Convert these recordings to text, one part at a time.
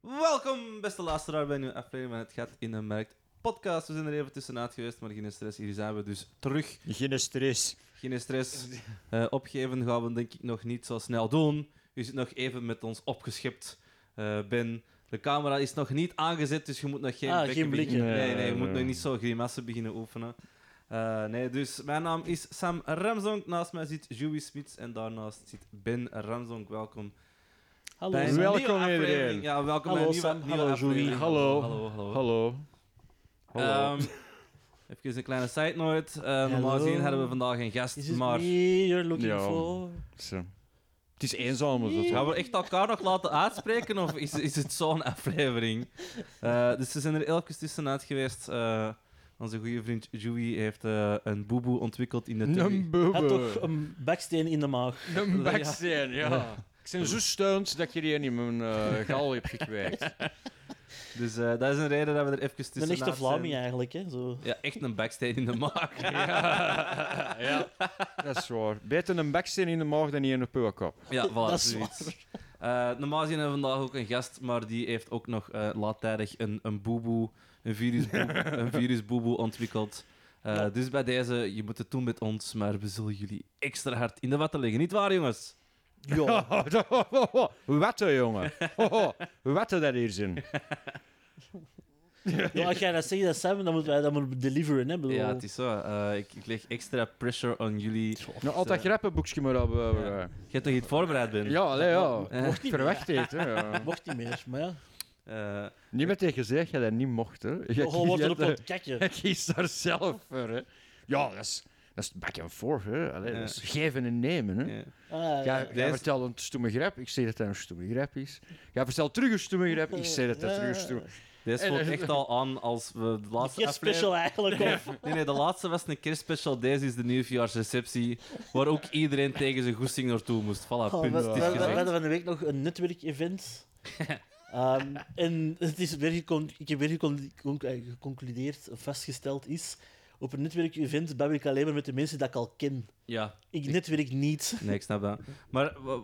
Welkom, beste luisteraar, bij een nieuwe aflevering van Het Gat in de Markt podcast. We zijn er even tussenuit geweest, maar geen stress. Hier zijn we dus terug. Geen stress. Geen stress. Eh, opgeven gaan we denk ik nog niet zo snel doen. U zit nog even met ons opgeschept, eh, Ben. De camera is nog niet aangezet, dus je moet nog geen, Ah, bekken geen blikken. beginnen- Nee, nee, Nee, je nee, moet nee. nog niet zo grimassen beginnen oefenen. Eh, nee, dus mijn naam is Sam Ramzonk. Naast mij zit Joey Smits en daarnaast zit Ben Ramzonk. Welkom. Hallo. bij een Wel- Sam. Welkom nieuwe aflevering. iedereen. Ja, welkom Hallo bij een nieuwe, Sam, nieuwe hallo aflevering. Joey. Hallo. Hallo, hallo. Hallo. Ehm, even een kleine side note. Eh, normaal Hallo. gezien hadden we vandaag een gast, Is it maar... me you're looking Ja. for? Zo. Het is eenzaam. maar Dat Gaan we echt elkaar nog laten uitspreken of is, is het zo'n aflevering? Eh, dus ze zijn er elke tussenuit geweest. Eh, onze goede vriend Joey heeft eh, een boeboe ontwikkeld in de Een tummy. Had toch boebe. een baksteen in de maag. Een baksteen, ja. Ik ben zo steunt dat je die in mijn eh, gal hebt gekwijkt. Dus eh, dat is een reden dat we er even tussenuit een echte Vlaming zijn. eigenlijk, hè? Zo. Ja, echt een backstage in de maag. Ja. Dat is waar. Beter een baksteen in de maag dan in een puwakop. Ja, voilà, Dat is zoiets. Eh, normaal gezien hebben we vandaag ook een gast, maar die heeft ook nog eh laattijdig een, een boeboe, een virusboeboe, een virusboeboe ontwikkeld. Eh, Ja. Dus bij deze, je moet het doen met ons, maar we zullen jullie extra hard in de watten leggen. Niet waar, jongens? Ja. Wat hè, jongen. Wat dat hier zijn. ja, als jij dat zegt, dat Sam, dan moeten wij dat maar deliveren, hè? Bedoel. Ja, het is zo. Eh, ik, ik leg extra pressure on jullie. Nou, altijd grappenboekje maar op. eh, Je hebt nog niet voorbereid, Ben? Ja, allee, ja. Eh. Mocht niet verwacht heeft, hè. ja. Mocht niet meer, maar ja. Eh, Niet met tegen gezegd dat je dat niet mocht, hè. Je Gewoon wordt je- erop aan het kakken. Hij kiest daar zelf voor. Hè. Ja, dat is, dat is back and forth. Hè. Allee, Ja. dat is geven en nemen. Hè. ja. Jij, Ah, ja. jij Deze- vertelt een stomme grap, ik zeg dat dat een stomme grap is. Jij vertelt terug een stomme grap, ik zeg dat dat terug een stomme... Deze En- voelt echt al aan als we de laatste eh, Je special eigenlijk, of... Nee, nee, de laatste was een kerstspecial. Deze is de nieuwjaarsreceptie, waar ook iedereen tegen zijn goesting naartoe moest. Voilà, Oh, Ah, punt. we, Het we- is we- we gezegd. hadden van de week nog een netwerkevent. Ehm en het is weer gecon- ik heb weer gecon- con- eh, geconcludeerd, of vastgesteld is, op een netwerkevent babbel ik alleen maar met de mensen dat ik al ken. Ja, Ik netwerk niet. nee, ik snap dat. Maar wa-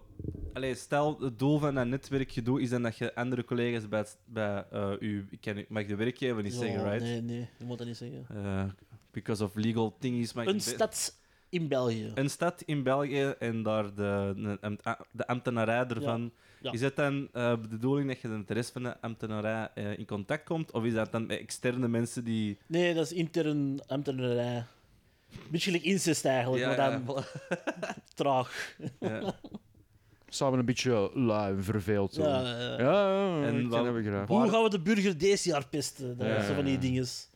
allee, stel, het doel van dat netwerkgedoe is dan dat je andere collega's bij, het- bij eh, u... Ik ken, mag ik de werkgever niet zeggen, Ja, right? Nee, nee, je moet dat niet zeggen. Eh, because of legal thingies. mag ik Een niet- stad in België. een stad in België en daar de, de, ambt- de ambtenarij ervan. Ja. Is het dan eh, de bedoeling dat je met de rest van de ambtenarij eh, in contact komt? Of is dat dan met externe mensen die... Nee, dat is intern ambtenarij. Beetje gelijk incest eigenlijk, Ja, maar ja, dan traag. ja. Samen een beetje lui en verveeld. zo. Ja, Ja, ja, ja. ja, En ik wat- ken dat we graag. Hoe gaan we de burger deze jaar pesten? Dat Ja, is zo van die ja, ja. dinges.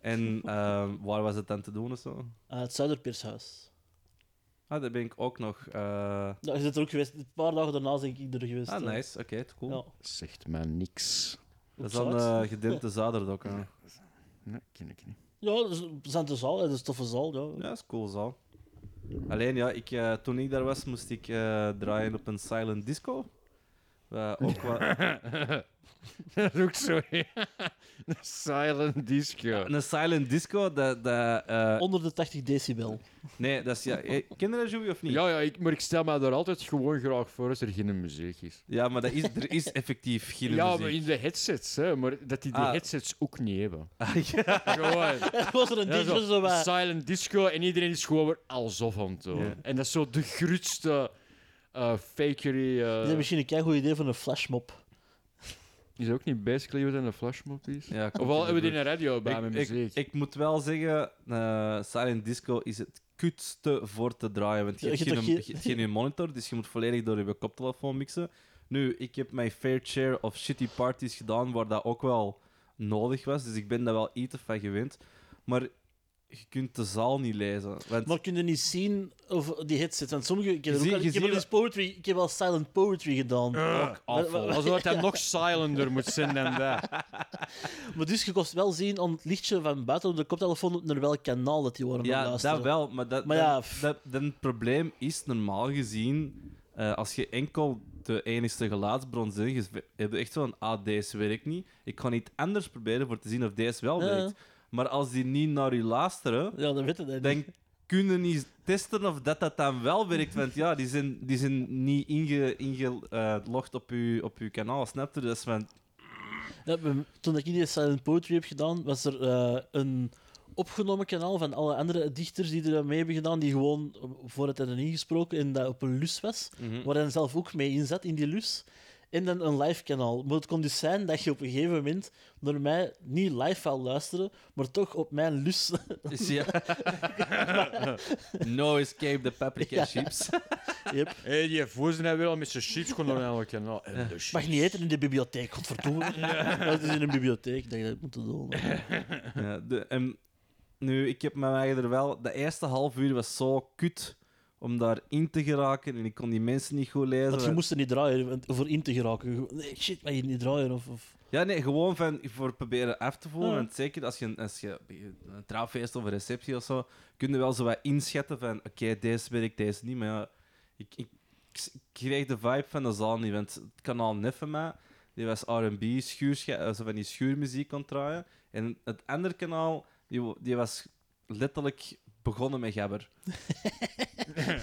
En eh, waar was het dan te doen of zo? Ah, het Zuiderpeershuis. Ah, daar ben ik ook nog. eh, Nou, je bent er ook geweest. Een paar dagen daarna ben ik er geweest. Ah, eh. nice. Oké, het cool. Ja. Zegt mij niks. Dat is Op dan Zuid. eh gedempte zaderdok. hè. Nee, ken ik niet. Ja, dat is Zante Zaal, hè, dat is toffe zaal. Ja. Ja, dat is cool zo. Alleen ja, ik, eh, toen ik daar was, moest ik eh, draaien op een silent disco. Eh, ook wat... dat is ook zo. ja. Een silent disco. Een silent disco, dat... dat eh, Onder de 80 decibel. Nee, dat is... Ja, eh, ken je dat, Joey, of niet? ja, ja ik, maar ik stel mij daar altijd gewoon graag voor als er geen muziek is. Ja, maar dat is, er is effectief geen ja, maar muziek. in de headsets, hè. Maar dat die dus die Ah. headsets ook niet hebben. Ah, ja. Gewoon. Er was er een Ja, dingetje zo bij. silent disco en iedereen is gewoon weer alsof aan het doen. Ja. En dat is zo de grootste eh fakery. eh, Dat is misschien een keigoed idee van een flashmob. Is dat ook niet basically wat een flashmob is? Ja, komt Of al in de hebben we die buurt. een radio bij met ik, muziek. ik, ik moet wel zeggen, eh, silent disco is het kutste voor te draaien. Want je Ja, hebt je geen, hebt je toch geen- hebt geen monitor, dus je moet volledig door je koptelefoon mixen. Nu, ik heb mijn fair share of shitty parties gedaan waar dat ook wel nodig was. Dus ik ben daar wel iets van gewend. Maar je kunt de zaal niet lezen. Want Maar kun je niet zien of die headset? Want sommige... Ik heb, Je er ook ziet- al- je ik heb ziet wel eens poetry... Ik heb wel silent poetry gedaan. Ah, awful. Maar- Alsof dat hij nog silenter moet zijn dan dat. Maar dus je kost wel zien aan het lichtje van buiten op de koptelefoon naar welk kanaal dat die worden aan het Ja, luisteren. dat wel, maar, dat, Maar dan- ja, dat, pff. dan het probleem is normaal gezien, eh, als je enkel de enigste geluidsbron zit, je hebt echt zo'n, ah, deze werkt niet. Ik ga niet anders proberen voor te zien of deze wel Ja. werkt. Maar als die niet naar je luisteren, Ja, dat weten dat dan niet. kunnen niet testen of dat dat dan wel werkt. Want ja, die zijn, die zijn niet ingelogd inge, eh, logd op, uw, op uw kanaal, snap je? Dus van, Ja, we- toen ik in Silent Poetry heb gedaan, was er eh, een opgenomen kanaal van alle andere dichters die er mee hebben gedaan, die gewoon eh, voor het hadden ingesproken en dat op een lus was, Mhm. waar hij zelf ook mee in zat in die lus. En dan een live kanaal. Maar het kon dus zijn dat je op een gegeven moment door mij niet live wou luisteren, maar toch op mijn lus. Dus ja. no escape the paprika chips. Yep. Eh, Hé, hey, die voerden hij wel met zijn chips gewoon naar elk kanaal. Nou, En de chips. Mag niet eten in de bibliotheek, godverdomme. Dat is in een bibliotheek dat je dat moet doen. Ja, de, en nu, ik heb mijn eigen er wel... De eerste half uur was zo kut om daarin te geraken. En ik kon die mensen niet goed lezen. Want je want- moest er niet draaien want- voor in te geraken. Gewoon, Nee, shit, mag je niet draaien. Of, of... Ja, nee, gewoon van, voor proberen af te voelen. Ja. Want zeker als je, als je een trouwfeest of een receptie of zo... kun je wel zo wat inschatten van... Oké, deze werkt, deze niet. Maar ja, ik, ik, ik kreeg de vibe van de zaal niet. Want het kanaal net van mij... Die was R&B, schuurscha- eh, zo van die schuurmuziek kon draaien. En het andere kanaal, die, wo- die was letterlijk begonnen met gabber.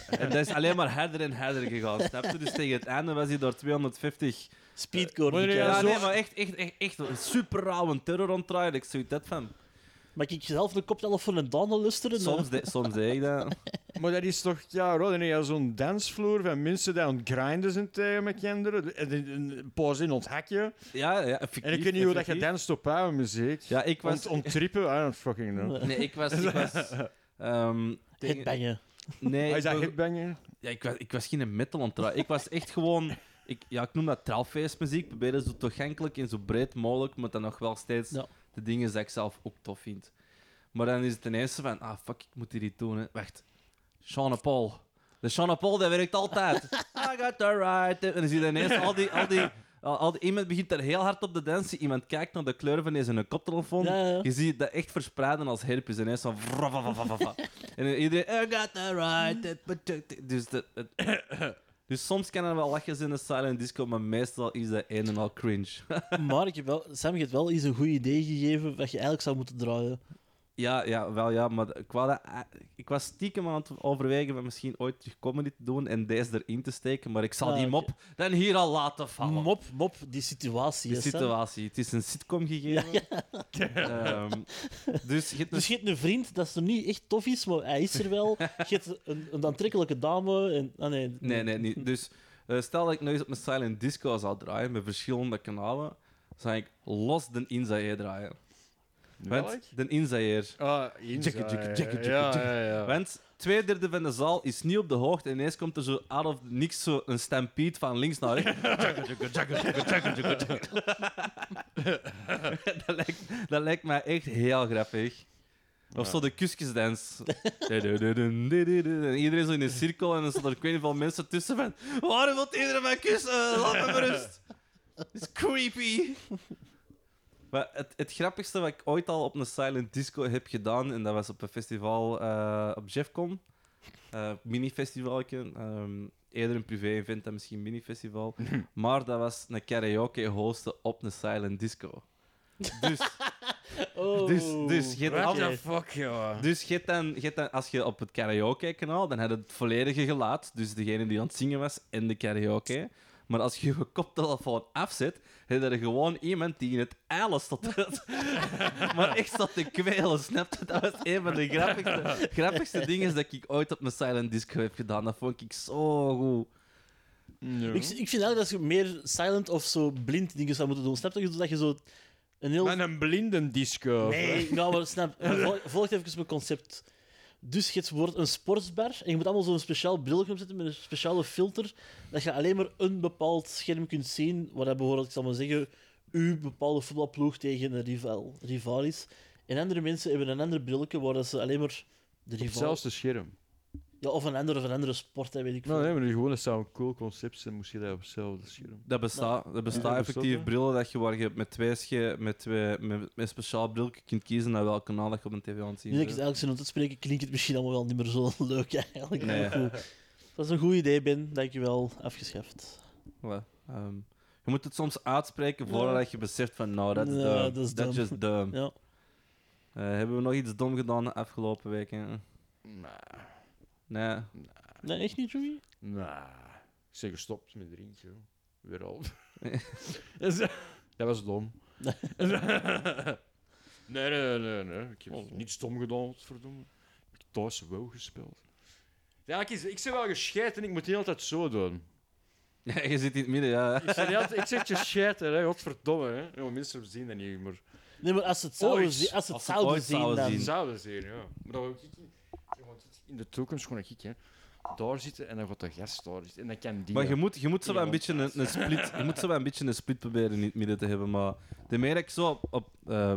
en dat is alleen maar harder en harder gegaan, snap je? Dus tegen het einde was hij door 250... Speedcore. Moet je die Ja, Ja, kerel. zo- nee, maar echt, echt, echt, echt een super rauwe terror ontdraaien. Ik zoiets dat van. Mag ik zelf de koptelefoon en Donald luisteren? Soms, de, soms deed ik dat. Maar dat is toch, ja, Rod, en je hebt zo'n dansvloer van mensen die aan het grinden zijn tegen mijn kinderen. En die- Een pauze in ons hakje. Ja, ja, En ik weet niet hoe dat je danst op oude muziek. Ja, ik was. Want ontrippen, I don't fucking know. Nee, ik was. Ik was ehm, tegen- Het ben je. nee, Hij is ik dat was, hitbanger? ja, ik, was, ik was geen metal ontdraaien. Ik was echt gewoon. Ik, ja, ik noem dat traalfeestmuziek. Proberen zo toegankelijk en zo breed mogelijk, maar dan nog wel steeds Ja. de dingen die ik zelf ook tof vind. Maar dan is het ten eerste van, ah fuck, ik moet hier iets doen. Hè. Wacht, Sean Paul. De Sean Paul, dat werkt altijd. I got the right. En dan zie je ineens al die, al die, al, al die- Iemand begint daar heel hard op te dansen. Iemand kijkt naar de kleuren van deze koptelefoon. Ja, ja. Je ziet dat echt verspreiden als herpes. En ineens van... vra, vra, vra, vra, vra. En dan iedereen... I got the right. Dus, dat, het- dus soms kan er wel lachjes in de silent disco, maar meestal is dat een en al cringe. Maar ik heb wel, Sam heeft wel eens een goed idee gegeven wat je eigenlijk zou moeten draaien. Ja, ja, wel ja, maar ik, wou dat, eh, ik was stiekem aan het overwegen van misschien ooit terug comedy te doen en deze erin te steken, maar ik zal Ah, die oké. mop dan hier al laten vallen. Mop, mop, die situatie. Die hè, Sam. situatie, het is een sitcom gegeven. Ehm, dus je hebt Dus een- je hebt een vriend, dat is nog niet echt tof is, maar hij is er wel. Je hebt een, een aantrekkelijke dame. En, ah, nee, Nee, nee, niet. Dus eh, stel dat ik nog eens op mijn silent disco zou draaien met verschillende kanalen, zou ik los de Inzaaier draaien. Welk? Want, de Inzaaier. Ah, Inza, Tjekke, tjekke, ja, tjekke, tjekke, ja, ja, Oh. ja. Want twee derde van de zaal is niet op de hoogte en ineens komt er zo out of niks zo een stampede van links naar rechts. Tjaka, tjaka, tjaka, tjaka, tjaka, tjaka, tjaka. dat, lijkt, dat lijkt mij echt heel grappig. Of zo de kusjesdans. En iedereen zo in een cirkel en dan staan er ik weet niet veel mensen tussen van... Waarom wil iedereen mij kussen? Laat me rust. Het is creepy. Maar het, het grappigste wat ik ooit al op een silent disco heb gedaan, en dat was op een festival eh, op Jeffcon, Eh mini-festivalje, ehm, eerder een privé-event dan misschien een mini-festival, maar dat was een karaoke hosten op een silent disco. Dus, Oh. dus, dus, je hebt What af- the fuck, joh. dus je hebt dan, je hebt dan, als je op het karaoke-kanaal, dan had het het volledige gelaat, dus degene die aan het zingen was en de karaoke. Maar als je je koptelefoon afzet, heb je er gewoon iemand die in het eilen stond. maar echt zat te kwelen, snap je? Dat was een van de grappigste, grappigste dingen dat ik ooit op mijn silent disco heb gedaan. Dat vond ik zo goed. Ja. Ik, ik vind eigenlijk dat je meer silent of zo blind dingen zou moeten doen. Snap je dat je zo een heel. Met een eh, blinden disco. Nee, nou, maar snap. Volg, volg even mijn concept. Dus je wordt een sportsbar en je moet allemaal zo'n speciaal bril zetten met een speciale filter, dat je alleen maar een bepaald scherm kunt zien, waar dat bijvoorbeeld, ik zal maar zeggen, uw bepaalde voetbalploeg tegen een rival, rival is. En andere mensen hebben een ander brilletje waar dat ze alleen maar de Op rival... hetzelfde scherm. Ja, of een andere, of een andere sport, hè, weet ik Nou, veel. nee, maar gewoon, dat zou een cool concept zijn, moest je dat op hetzelfde scherm. Dat bestaat, dat bestaat Ja, dat effectief bestaat, hè? brillen dat je, waar je met twee, sche- met twee met, met een speciaal brilje kunt kiezen naar welk kanaal dat je op een tv aan het zien Nu dat ik bent. het eigenlijk zo aan het spreken, klinkt het misschien allemaal wel niet meer zo leuk eigenlijk. Nee. Maar goed. Dat is een goed idee, Ben. Dankjewel. Afgeschaft. Voilà, ehm, je moet het soms uitspreken voordat je beseft van, nou, dat is Ja, dumb. dat is That's dumb. just dumb. Ja. Eh, hebben we nog iets dom gedaan de afgelopen weken? Nah, Nee. Nee, echt niet, Joey? nah. Ik zeg gestopt met drinken. joh. Weer al. Dat is- dat was dom. nee, nee, nee, Oh, nee. Ik heb niets dom gedaan, verdomme. Ik heb thuis wel gespeeld. Ja, ik, ik ben wel gescheiden en ik moet niet altijd zo doen. Ja, je zit in het midden, ja. Ik zeg, niet altijd- ik zeg je scheiden, hè. Godverdomme, hè. Ja, mensen zien dat niet, maar... Nee, maar als ze het zouden, Ooit. zien- als ze het Als ze het zouden ooit zien, zouden dan... zien. Zouden zien, ja. Maar dan wil ik- dan wil ik in de toekomst gewoon ik, hè. Daar zitten en dan gaat de gast daar zitten. En dan kan die... Maar je moet, je moet zo wel een Iemand beetje een, een split, je moet zo wel een beetje een split proberen in het midden te hebben. Maar de meer ik zo op, op eh,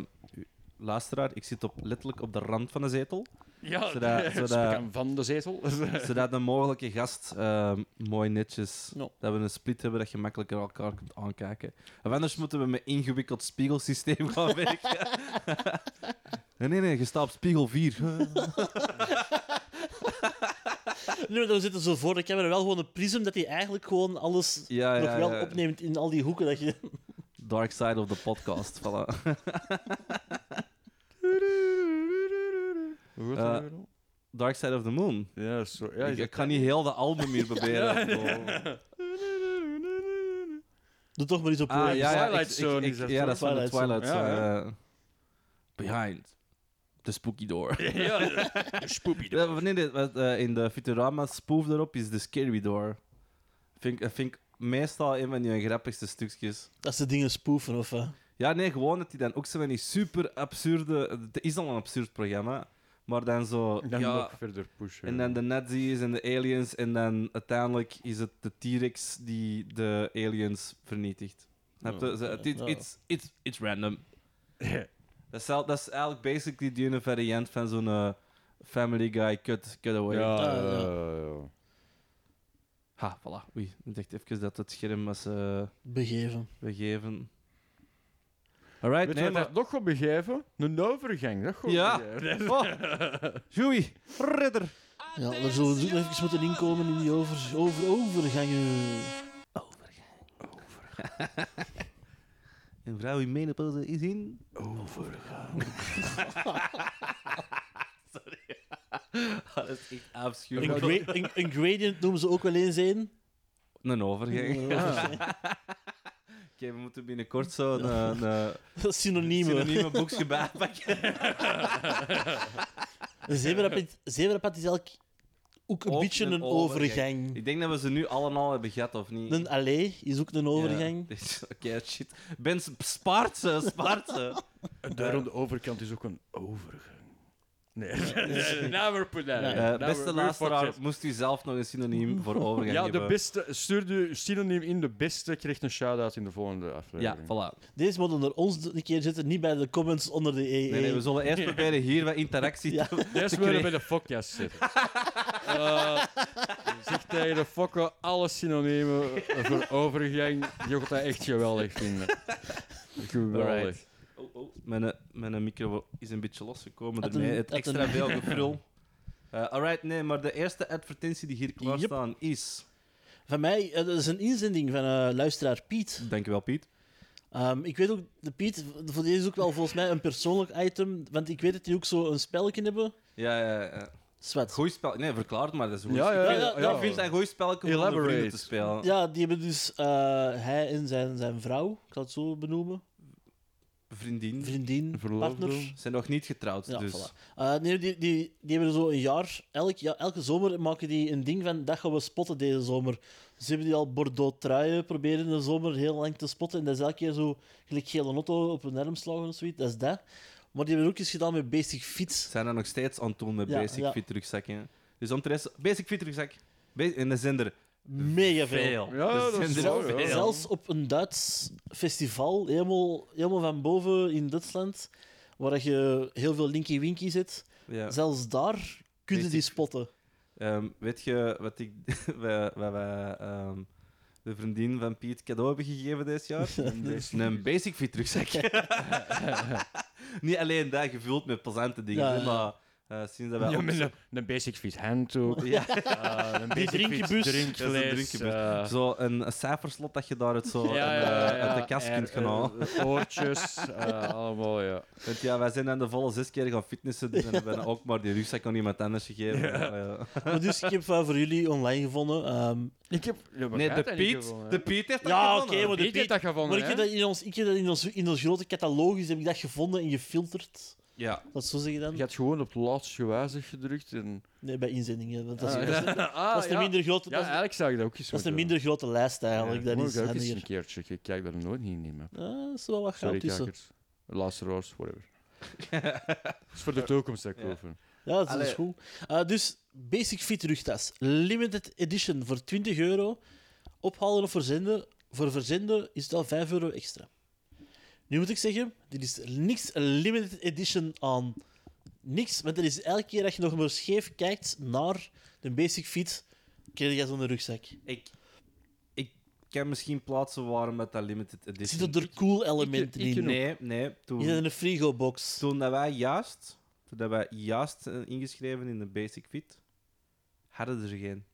luisteraar, ik zit op, letterlijk op de rand van de zetel, Ja, zodat- spek zodat- aan van de zetel. zodat een mogelijke gast eh, mooi netjes Ja. dat we een split hebben dat je makkelijker elkaar kunt aankijken. Of anders moeten we met ingewikkeld spiegelsysteem gaan werken. nee, nee, nee, je staat op spiegel 4. Nee, maar dan zitten ze voor de camera wel gewoon een prism dat hij eigenlijk gewoon alles ja, ja, nog wel ja. opneemt in al die hoeken dat je... Dark side of the podcast. Voilà. Hoe Eh, gaat dat weer al? Dark side of the moon. Ja, zo... Ja, Ik, ik ga niet heel de album hier proberen. Doe toch maar iets op Ah, Roy. ja, ja, Twilight ik- Zone ik- is ik- dat ja, zo? dat is van de Twilight Twilight Zone. Zone, Ja, eh. Behind the Spooky Door. Ja, spoepie Ja, maar nee, nee, wat, eh, in de Futurama spoof daarop is de Scary Door. Vind, ik- eh, vind ik meestal een van die grappigste stukjes. Dat ze dingen spoeven, of... eh. Ja, nee, gewoon dat die dan ook zo van die super absurde... Het is al een absurd programma, maar dan zo... Dan ja, nog verder pushen. En dan de Nazis en de aliens. En dan uiteindelijk is het de T-Rex die de aliens vernietigt. Snap Oh, je? Zo, het is- Ja. it's, it's, it's random. Ja. Dat is, al- dat is eigenlijk basically die ene variant van zo'n eh, Family Guy cut, cutaway. Ja, Ah, ja, ja. ja. Ha, voilà. Oei, ik dacht even dat het scherm was eh, Begeven. weggeven. Weet Alright, je nee, wat maar... dat nog gaat begeven? Een overgang, dat gaat Ja. begeven. Oh, Joey, ridder. Ja, daar zullen we dus even moeten inkomen in die over, over, overgangen. Een vrouw in menopauze is in... Overgang. Sorry. dat is echt Een, afschuwelijk. gra- een, een gradient noemen ze ook wel eens een. Een overgang. Oké, Ja. we moeten binnenkort zo een, een, een Synoniemen. synonieme boekje bijpakken. Een zebrapad, zebrapad is elk ook een Of beetje een een overgang. overgang. Ik denk dat we ze nu allemaal hebben gehad, of niet? Een allee is ook een overgang. Ja. Oké, shit. Ben, sp- spaart ze, spaart ze. En daar aan de overkant is ook een overgang. Nee, never put that. Nee. in. Eh, Never- beste we're luisteraar, fucked up. moest u zelf nog een synoniem voor overgang Ja, de hebben? beste. Stuur de synoniem in de beste, krijgt een shout-out in de volgende Ja, aflevering. voilà. Deze moet onder ons een keer zitten, niet bij de comments onder de E EE. Nee, nee, we zullen eerst proberen hier wat interactie Ja. te... Deze willen we bij de fokjas zitten. Eh, zeg tegen de fokken alle synoniemen eh, voor overgang. Je gaat dat echt geweldig vinden. Geweldig. Alright. Mijn, eh, mijn micro is een beetje losgekomen Had ermee. een- Het had extra een- veel gevrul. Eh, alright, nee, maar de eerste advertentie die hier klaarstaan is... Van mij, eh, dat is een inzending van eh, luisteraar Piet. Dankjewel, Piet. Ehm, ik weet ook, de Piet, voor deze is ook wel volgens mij een persoonlijk item, want ik weet dat die ook zo een spelletje hebben. Ja, ja, ja. Zwat. Goeie spel. Nee, verklaar het maar. Dat is goed. Ja, ja, ja, Ik vind- ja. Ik vind het een goeie spel om onder Elaborate. vrienden te spelen. Ja, die hebben dus eh, hij en zijn, zijn vrouw, ik zal het zo benoemen, Vriendin. vriendin, Verloofde. partner. Zijn nog niet getrouwd, Ja, dus... voilà. Eh, nee, die, die, die hebben zo een jaar, elk, ja, elke zomer maken die een ding van dat gaan we spotten deze zomer. Dus hebben die al Bordeaux truien proberen in de zomer heel lang te spotten. En dat is elke keer zo gelijk gele auto op een arm slagen of zoiets, dat is dat. Maar die hebben ook iets gedaan met Basic Fiets. zijn er nog steeds aan het doen met Ja, Basic ja. Fit rugzakken. Dus om te rest- Basic Fit rugzak. Ba- en er zijn er Mega veel. veel. Ja, Er dat zijn is er zo, Zelf- ja. veel. Zelfs op een Duits festival, helemaal, helemaal van boven in Duitsland, waar dat je heel veel Linky Winky zit, Ja. zelfs daar kunnen die Basic- spotten. Ehm, weet je wat ik, wij, wij, wij, ehm, de vriendin van Piet cadeau hebben gegeven dit jaar? dus- een Basic Fit rugzak. Niet alleen daar gevuld met plezante dingen, Ja, ja. maar Eh, sinds dat wij Ja, op- met een, een basic fit handdoek. Ja. eh, een basic drinkjebus. fit Dat is een drinkfles. drinkjebus. eh, Zo een, een cijferslot dat je daar uit, zo, ja, eh, ja, ja, uit de kast er- kunt gaan eh, halen. Oortjes, eh, allemaal, ja. Want ja, wij zijn dan de volle zes keer gaan fitnessen, dus dan hebben we ook maar die rugzak aan iemand anders gegeven. Ja. Maar dus ik heb eh, voor jullie online gevonden. ehm, Ik heb... ja, Nee, maar jij de hebt dat niet Piet, gevonden, hè? de Piet heeft dat ja, oké, gewonnen. maar de Piet heeft Piet- dat gevonden, Maar ik hè? heb dat in ons, ik heb dat in ons, in ons grote catalogus heb ik dat gevonden en gefilterd. Ja, Dat zo zeg je dan? Je hebt gewoon op laatst gewijzigd gedrukt. En... Nee, bij inzendingen. Want dat is, Ah, dat ja. is- dat is een Ah, ja. minder grote, Ja, dat is, eigenlijk zou ik dat ook eens dat is een moeten doen. minder grote lijst eigenlijk. Ja, dat moet is ik ook eens een handiger. keer checken. Ik kijk daar nooit niet in, man. Ah, dat is wel wat goud Sorry, tussen. kijkers. Luisteraars, whatever. Dat is voor de toekomst, dat ik Ja. over. Ja, dat is Allee. goed. Eh, dus Basic Fit rugtas. Limited edition voor 20 euro. Ophalen of verzenden. Voor verzenden is dat 5 euro extra. Nu moet ik zeggen, dit is niks limited edition aan niks. Want er is elke keer dat je nog maar scheef kijkt naar de Basic Fit, krijg je zo'n rugzak. ik, ik kan misschien plaatsen waarom met dat limited edition... Zitten er cool elementen ik- in? Nee, nee. Je zit Toen, in een frigo-box. toen dat wij juist, toen dat wij juist eh, ingeschreven in de Basic Fit, hadden er geen.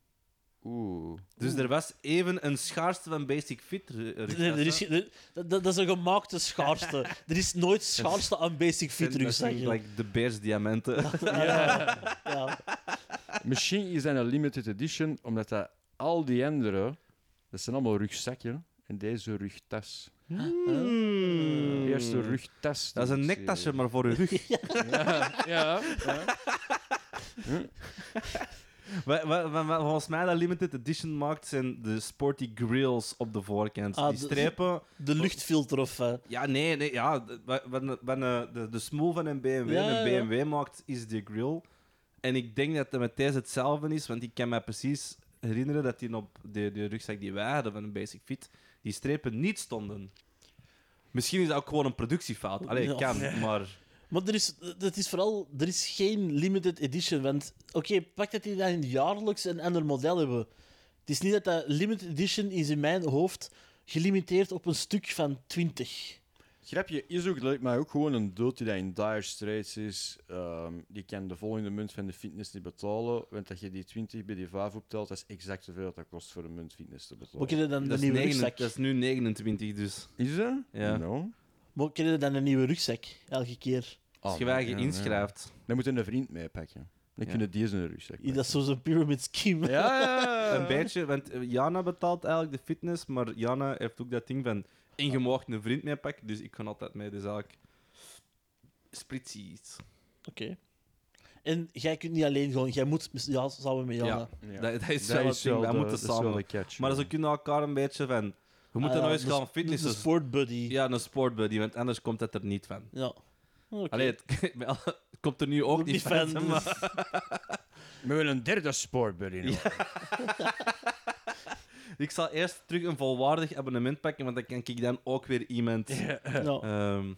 Oeh. Dus er was even een schaarste van Basic Fit. ru- rugzakken. Nee, Oh. er is, geen- er- dat, dat is een gemaakte schaarste. Er is nooit schaarste aan Basic Fit En dat zijn rugzakken. gelijk de beersdiamanten. Ja. ja. Misschien is dat een limited edition, omdat dat al die andere, dat zijn allemaal rugzakken. En deze rugtas. Mm. De eerste rugtas. die Dat is een ik nektasje, zie. maar voor uw rug. Ja, ja. ja. Wat, wat, wat- wat volgens mij dat limited edition maakt, zijn de sporty grills op de voorkant. Ah, die de- strepen... De luchtfilter of... eh, Ja, nee, nee, ja. de- wa- wa- wa- wa- de, de smoel van een BMW Ja, een ja. BMW maakt, is die grill. En ik denk dat dat met deze hetzelfde is, want ik kan me precies herinneren dat die op de, de rugzak die wij hadden van een Basic Fit, die strepen niet stonden. Misschien is dat ook gewoon een productiefout. Allee, Ja. kan, maar... Maar er is, dat is vooral... Er is geen limited edition, want... Oké, pak dat die dan jaarlijks een ander model hebben. Het is niet dat dat limited edition is in mijn hoofd gelimiteerd op een stuk van 20. Grapje is ook leuk, maar ook gewoon een dood die dat in dire straits is. Ehm, die kan de volgende munt van de fitness niet betalen. Want dat je die 20 bij die 5 optelt, dat is exact zoveel dat dat kost voor een munt fitness te betalen. Moet je dan Dat een is, nieuwe 29 rugzak? dat is nu 29, dus Is dat? Ja. No. Moet je dan een nieuwe rugzak elke keer? als Dus Ah, je je inschrijft. Dan moet je een vriend meepakken. Dan Ja. kunnen die eens een rugzak Ja, Dat is zo'n pyramid scheme. pakken. Ja, ja, ja. Een beetje, want eh, Jana betaalt eigenlijk de fitness, maar Jana heeft ook dat ding van ingemoogd een vriend meepakken, dus ik kan altijd mee. Dus eigenlijk splitsies. Oké. En jij kunt niet alleen gewoon, jij moet mis- ja, samen met Jana. Ja. Ja. Dat, dat is wel het ding, wij de- moeten dat is wel samen. de catch, Maar ja. ze kunnen elkaar een beetje van... We Ah, moeten nou ja, eens de gaan sp- De fitnessen. sportbuddy. ja, een sportbuddy, want anders komt het er niet van. Ja. Oké. Allee, het, het komt er nu ook niet van. dus fan. maar- We willen een derde sportbuddy nog. ik zal eerst terug een volwaardig abonnement pakken, want dan kan ik dan ook weer iemand... Ja. Ehm,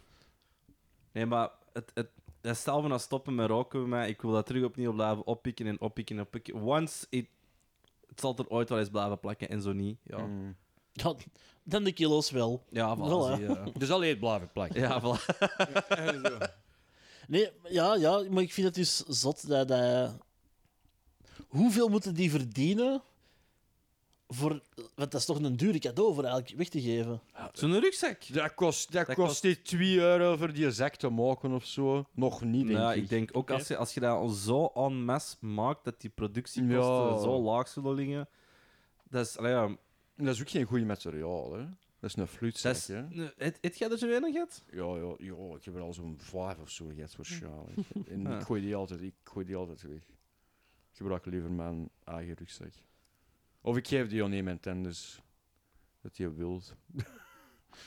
nee, maar het, het, het stel van als stoppen met roken, maar ik wil dat terug opnieuw blijven oppikken en oppikken en oppikken. Once it, het zal er ooit wel eens blijven plakken en zo niet. Ja, Mm. Ja, dan de kilo's wel. ja voilà. Voilà. zie je. Dus alleen het blijven plakken. Ja, voilà. Nee, ja, ja, maar ik vind het dus zot dat, dat... Hoeveel moeten die verdienen voor... Want dat is toch een dure cadeau voor elk weg te geven. Zo'n rugzak. Dat kost, dat Dat kost die 2 euro voor die zak te maken of zo. Nog niet, Ja, denk Nou, ik. Nou, ik denk ook als je, als je dat al zo en masse maakt, dat die productiekosten Ja. zo laag zullen liggen. Dat is, allee, ja, Dat is ook geen goede materiaal, hè. Dat is een fluitzak, dat is... hè. Nee, Het, het gaat er zo weinig uit? Ja, ja, ja, ik heb er al zo'n vijf of zo gehad voor sjaal. Ik- En ik gooi die altijd, ik gooi die altijd weg. Ik gebruik liever mijn eigen rugzak. Of ik geef die aan iemand anders. Dat die wilt.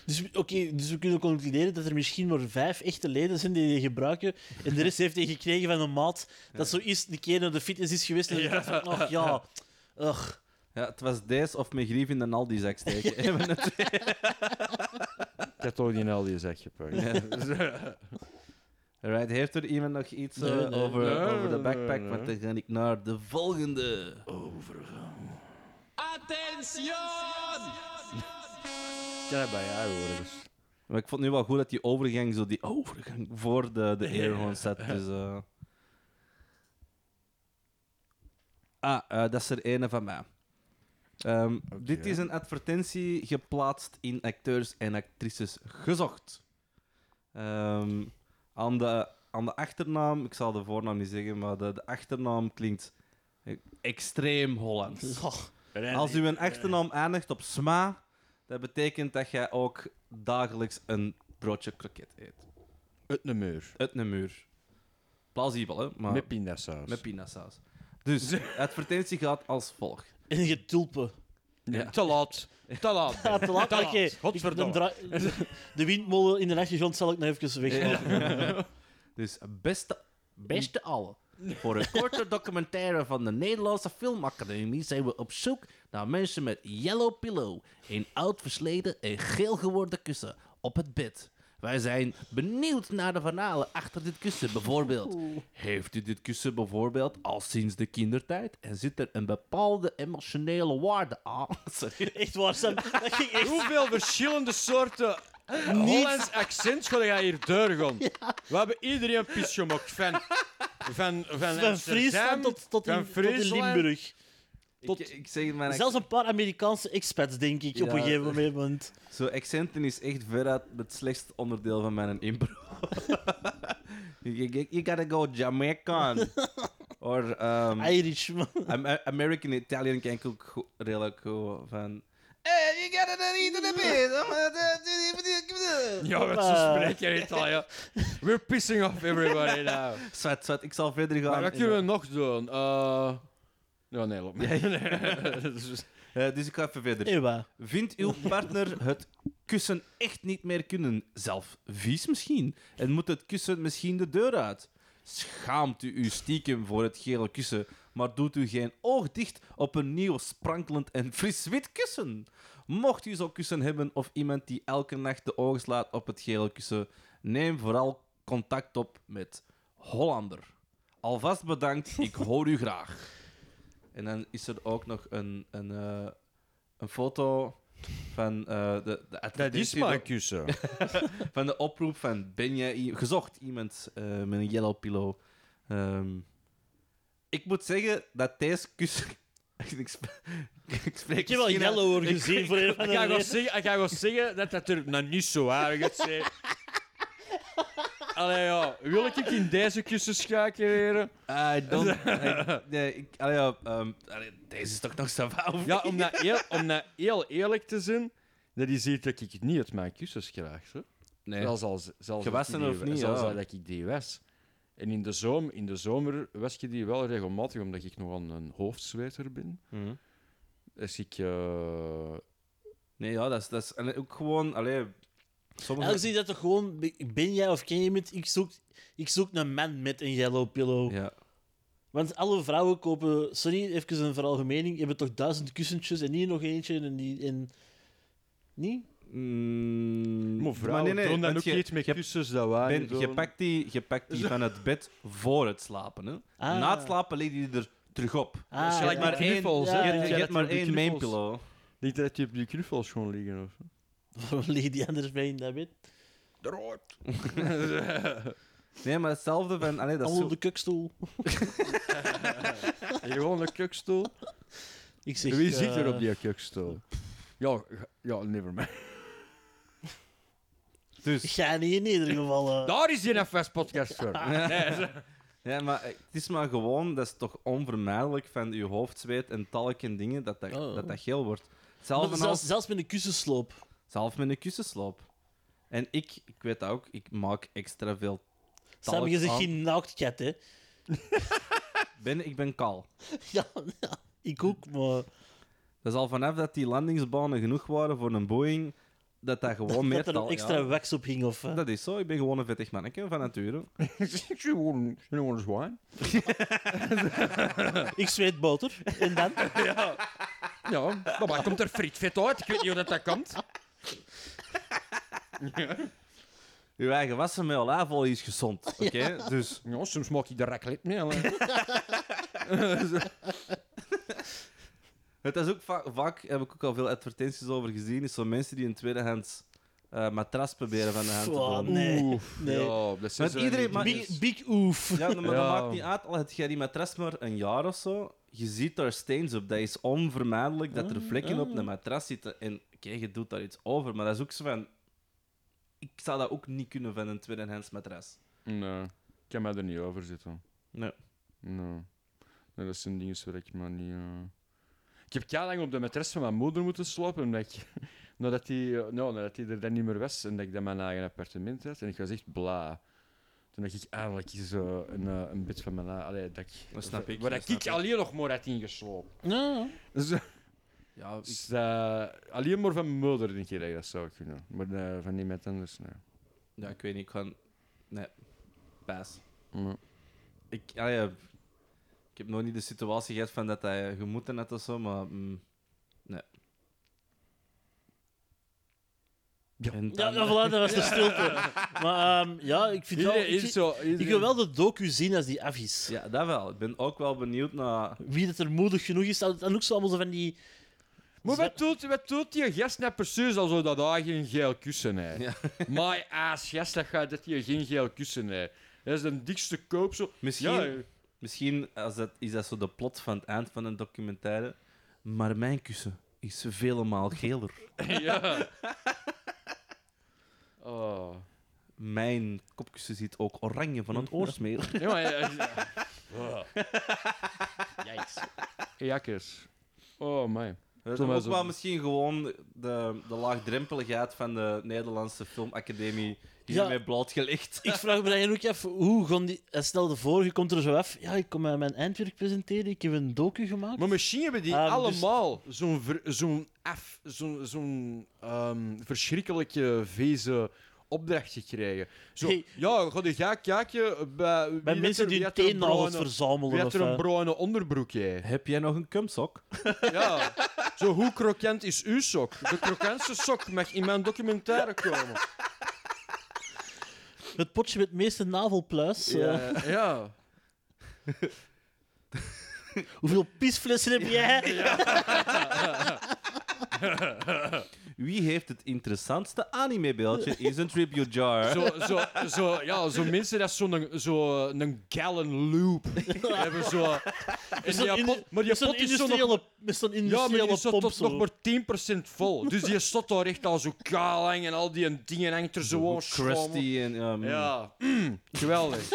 Dus oké, dus we kunnen concluderen dat er misschien maar vijf echte leden zijn die die gebruiken. En de rest heeft die gekregen van een maat dat zo eerst een keer naar de fitness is geweest en dacht van, ach ja, ugh. Ja, het was deze of mijn grief in de Aldi-zak steken. Even het- Ik heb toch die al die zak gepakt. Alright, heeft er iemand nog iets eh, Nee, nee. over, Nee, over de nee, backpack? nee. Want dan ga ik naar de volgende. kan dat bij jou horen. dus. Maar ik vond nu wel goed dat die overgang, zo die overgang voor de, de airhorn zat. Dus, eh, Ah, eh, dat is er ene van mij. Ehm, Oké. Dit is een advertentie geplaatst in acteurs en actrices gezocht. Ehm, aan, de, aan de achternaam, ik zal de voornaam niet zeggen, maar de, de achternaam klinkt eh, extreem Hollands. Oh, Als u een achternaam eindigt op sma, dat betekent dat jij ook dagelijks een broodje kroket eet. Het nummer. Uit een muur. Plausibel, hè? Maar Met pindasaus. met pinasaus. Dus, de advertentie gaat als volgt. in je tulpen. Nee, Te laat. Te laat. Ja, te laat. Ah, Te laat. Oké, ik- Godverdomme. de dra- De windmolen in de achtergrond zal ik nog even weglopen. Dus beste, beste allen. Voor een korte documentaire van de Nederlandse Filmacademie zijn we op zoek naar mensen met yellow pillow. Een oud versleten en geel geworden kussen op het bed. Wij zijn benieuwd naar de verhalen achter dit kussen bijvoorbeeld. Heeft u dit kussen bijvoorbeeld al sinds de kindertijd en zit er een bepaalde emotionele waarde aan? Sorry. Echt waar, Sam. Dat ging echt Hoeveel verschillende soorten Hollands accent ga je hier doorgaan? We hebben iedereen een pisje gemaakt. Van, van, van, van Friesland tot, tot, in, van tot in Friesland. Limburg. Tot... Ik, zeg mijn Zelfs een paar Amerikaanse expats, denk ik, op Ja. een gegeven moment. Zo, accenten is echt veruit het slechtste onderdeel van mijn impro. you, you- you gotta go Jamaican. Or um, Irish, man. Am- A- American Italian ken ik ook go- redelijk goed van... Hey, you gotta not eat the bit. Ja, wat Ah. zo spreek je niet al, ja. We're pissing off everybody now. Zwet, zwet, ik zal verder gaan. Maar wat in kunnen we de- nog doen? Eh Ja, nee, loop. Nee, dat is dus- Eh, dus ik ga even verder. Ewa. Vindt uw partner het kussen echt niet meer kunnen? Zelf vies misschien? En moet het kussen misschien de deur uit? Schaamt u u stiekem voor het gele kussen, maar doet u geen oog dicht op een nieuw sprankelend en fris wit kussen? Mocht u zo'n kussen hebben of iemand die elke nacht de ogen slaat op het gele kussen, neem vooral contact op met Hollander. Alvast bedankt, ik hoor u graag. En dan is er ook nog een, een, eh, een foto van eh, de, de Dat is advertentie maar een Ah, kussen. van de oproep van ben jij i- gezocht iemand eh, met een yellow pillow? Ehm, ik moet zeggen dat deze kussen... ik, sp- ik spreek Ik heb wel misschien uit- Yellow hoor ik- gezien voor een van Ik de ga wel reden. zeggen, ik ga wel zeggen dat dat er nou niet zo aardig is. Allee, ja. Wil ik in deze kussen schakelen? I don't... I- nee, ik, allee, ja, ehm, allee, deze is toch nog zo fout? Ja, om dat heel, om dat heel eerlijk te zijn, dat is iets dat ik niet uit mijn kussens krijg. Hè. Nee. Zelfs als, zelfs Gewassen als ik die- of niet, zelfs ja. als dat ik die was. En in de, zomer, in de zomer was je die wel regelmatig, omdat ik nog een, een hoofdzweter ben. Mhm. Dus ik... eh, Nee, ja, dat is, dat is en ook gewoon... Allee, sommige... Eigenlijk zeg je dat toch gewoon, ben jij of ken je iemand, ik zoek, ik zoek een man met een yellow pillow. Ja. Want alle vrouwen kopen, sorry, even een veralgemening, hebben toch duizend kussentjes en hier nog eentje en die... En... Niet? Mm, maar vrouwen doen dan want ook je- iets met je kussens dat wij Ben, niet doen. je pakt die, je pakt die van het bed voor het slapen. Hè? Ah. Na het slapen ligt die er terug op. Ah, Dus je lijkt maar met één- knuffels, ja, hè. je ja, hebt, je dat hebt maar die één main knuffels- pillow. Niet dat je op die knuffels gewoon liggen of zo. Waarom liggen die anders bij in dat bed? Drood. Nee, maar hetzelfde van... Allee, dat is Al zo... op de kukstoel. Gewoon een kukstoel. Ik zeg, Wie zit er eh, op die kukstoel? Ja, g- ja nevermind. Dus... Ik ga niet in ieder geval. eh. Daar is die FS podcast voor. Ja, maar eh, het is maar gewoon, dat is toch onvermijdelijk van je hoofdzweet en talk en dingen, dat dat, Oh. dat, dat geel wordt. Maar Hetzelfde zelfs, als zelfs met een kussensloop. zelf met een kussensloop. En ik, ik weet dat ook, ik maak extra veel Sam, talk je zegt aan. geen naaktkat, hè? Ben, ik ben kaal. Ja, ja, ik ook, maar. Dat is al vanaf dat die landingsbanen genoeg waren voor een Boeing, dat dat gewoon meer dat er tal... een extra ja. wax op ging, of. eh. Dat is zo, ik ben gewoon een vettig manneke van nature. Gewoon gewoon zwijn. Ik zweet boter. En dan? Ja, maar waar komt er frietvet uit? Ik weet niet hoe dat, dat komt. Uw eigen wassen met olijfolie is gezond, oké? Dus Ja, soms maak ik de raclette mee. alleen. het is ook va- vaak, heb ik ook al veel advertenties over gezien, is zo mensen die een tweedehands eh, matras proberen van de hand te Pff, doen. Nee, Oef, nee. Ja, dat Want iedereen- maar- Big, big oef. Ja, maar dat Ja. maakt niet uit, al had jij die matras maar een jaar of zo. je ziet daar stains op. Dat is onvermijdelijk dat er Mm, Ah, vlekken op ah. de matras zitten. En oké, je doet daar iets over, maar dat is ook zo van... Ik zou dat ook niet kunnen van een tweedehands matras. Nee, ik kan mij er niet over zitten. Nee. Nee. Nee, dat zijn dingen waar ik maar niet... eh. Ik heb keilang op de matras van mijn moeder moeten slapen, omdat ik... nadat die, eh, nou, nadat die er dan niet meer was en dat ik dan mijn eigen appartement had. En ik was echt bla. Toen dacht ik eigenlijk zo een, eh, een bed van mijn... ei- Allee, dat ik... Dat snap ik, Waar dat ik, snap ik. alleen nog maar had ingeslopen. Ja, Dus, Ja, ik- dus, eh, alleen maar van mijn moeder denk je dat ik dat zou kunnen. Maar eh, van niemand anders, nee. ja, ik weet niet, ik kan... Nee, paas. Nee. Ik, ah ja, ik heb nog niet de situatie gehad van dat hij gemoeten had of zo, maar... mm, nee. Ja. En ja, dan- ja voilà, dat was de stilte. Maar ehm, ja, ik vind wel... Iedereen Ik, is vind- zo... ik iedereen- wil wel de docu zien als die af is. Ja, dat wel. Ik ben ook wel benieuwd naar... Wie dat er moedig genoeg is. En en ook zo allemaal zo van die... Maar wat doet, wat doet die gast net precies als dat hij geen geel kussen heeft? Ja. My ass, gast, dat gaat dat hij geen geel kussen heeft. Dat is de dikste koop zo. Misschien, misschien als dat, is dat zo de plot van het eind van een documentaire. Maar mijn kussen is vele maal geler. Ja. ja. Oh. Mijn kopkussen ziet ook oranje van het oorsmeer. Ja, maar, eh, ja, ja. Oh. Jakkers. eh, Oh, my. Dat is Toen ook was wel het- misschien gewoon de, de laagdrempeligheid van de Nederlandse Filmacademie hiermee blootgelegd. Ik vraag me dan ook af, hoe gaan die... en Stel de vorige komt er zo af. Ja, ik kom eh, mijn eindwerk presenteren. Ik heb een docu gemaakt. Maar misschien hebben die Ah, dus- allemaal zo'n ver- zo'n af, zo'n zo'n ehm, verschrikkelijke veze opdracht gekregen. Zo, Hey. ja, ga je gaan kijken eh, bij, wie Bij dat mensen er- wie die hun dat er een teennagels bruine- verzamelen. Wie of, had er een eh, bruine onderbroek jij? Heb jij nog een kumsok? Ja. Zo, hoe krokant is uw sok? De krokantste sok mag in mijn documentaire komen. Het potje met het meeste navelpluis. eh, Ja. hoeveel pisflessen heb jij? Wie heeft het interessantste animebeeldje is een tribute jar. Zo, zo, zo, ja, zo mensen dat zo'n zo een gallon loop hebben. Zo. En die in- pot- maar die Met zo'n pot is zo nog... industriële, met zo'n Ja, maar industriële die staat pomp. tot zo. nog maar 10% vol. Dus die staat daar echt al zo kaal hangen en al die dingen hangt er zo aan. schommel. Krusty en... ehm, Ja. Mm, geweldig.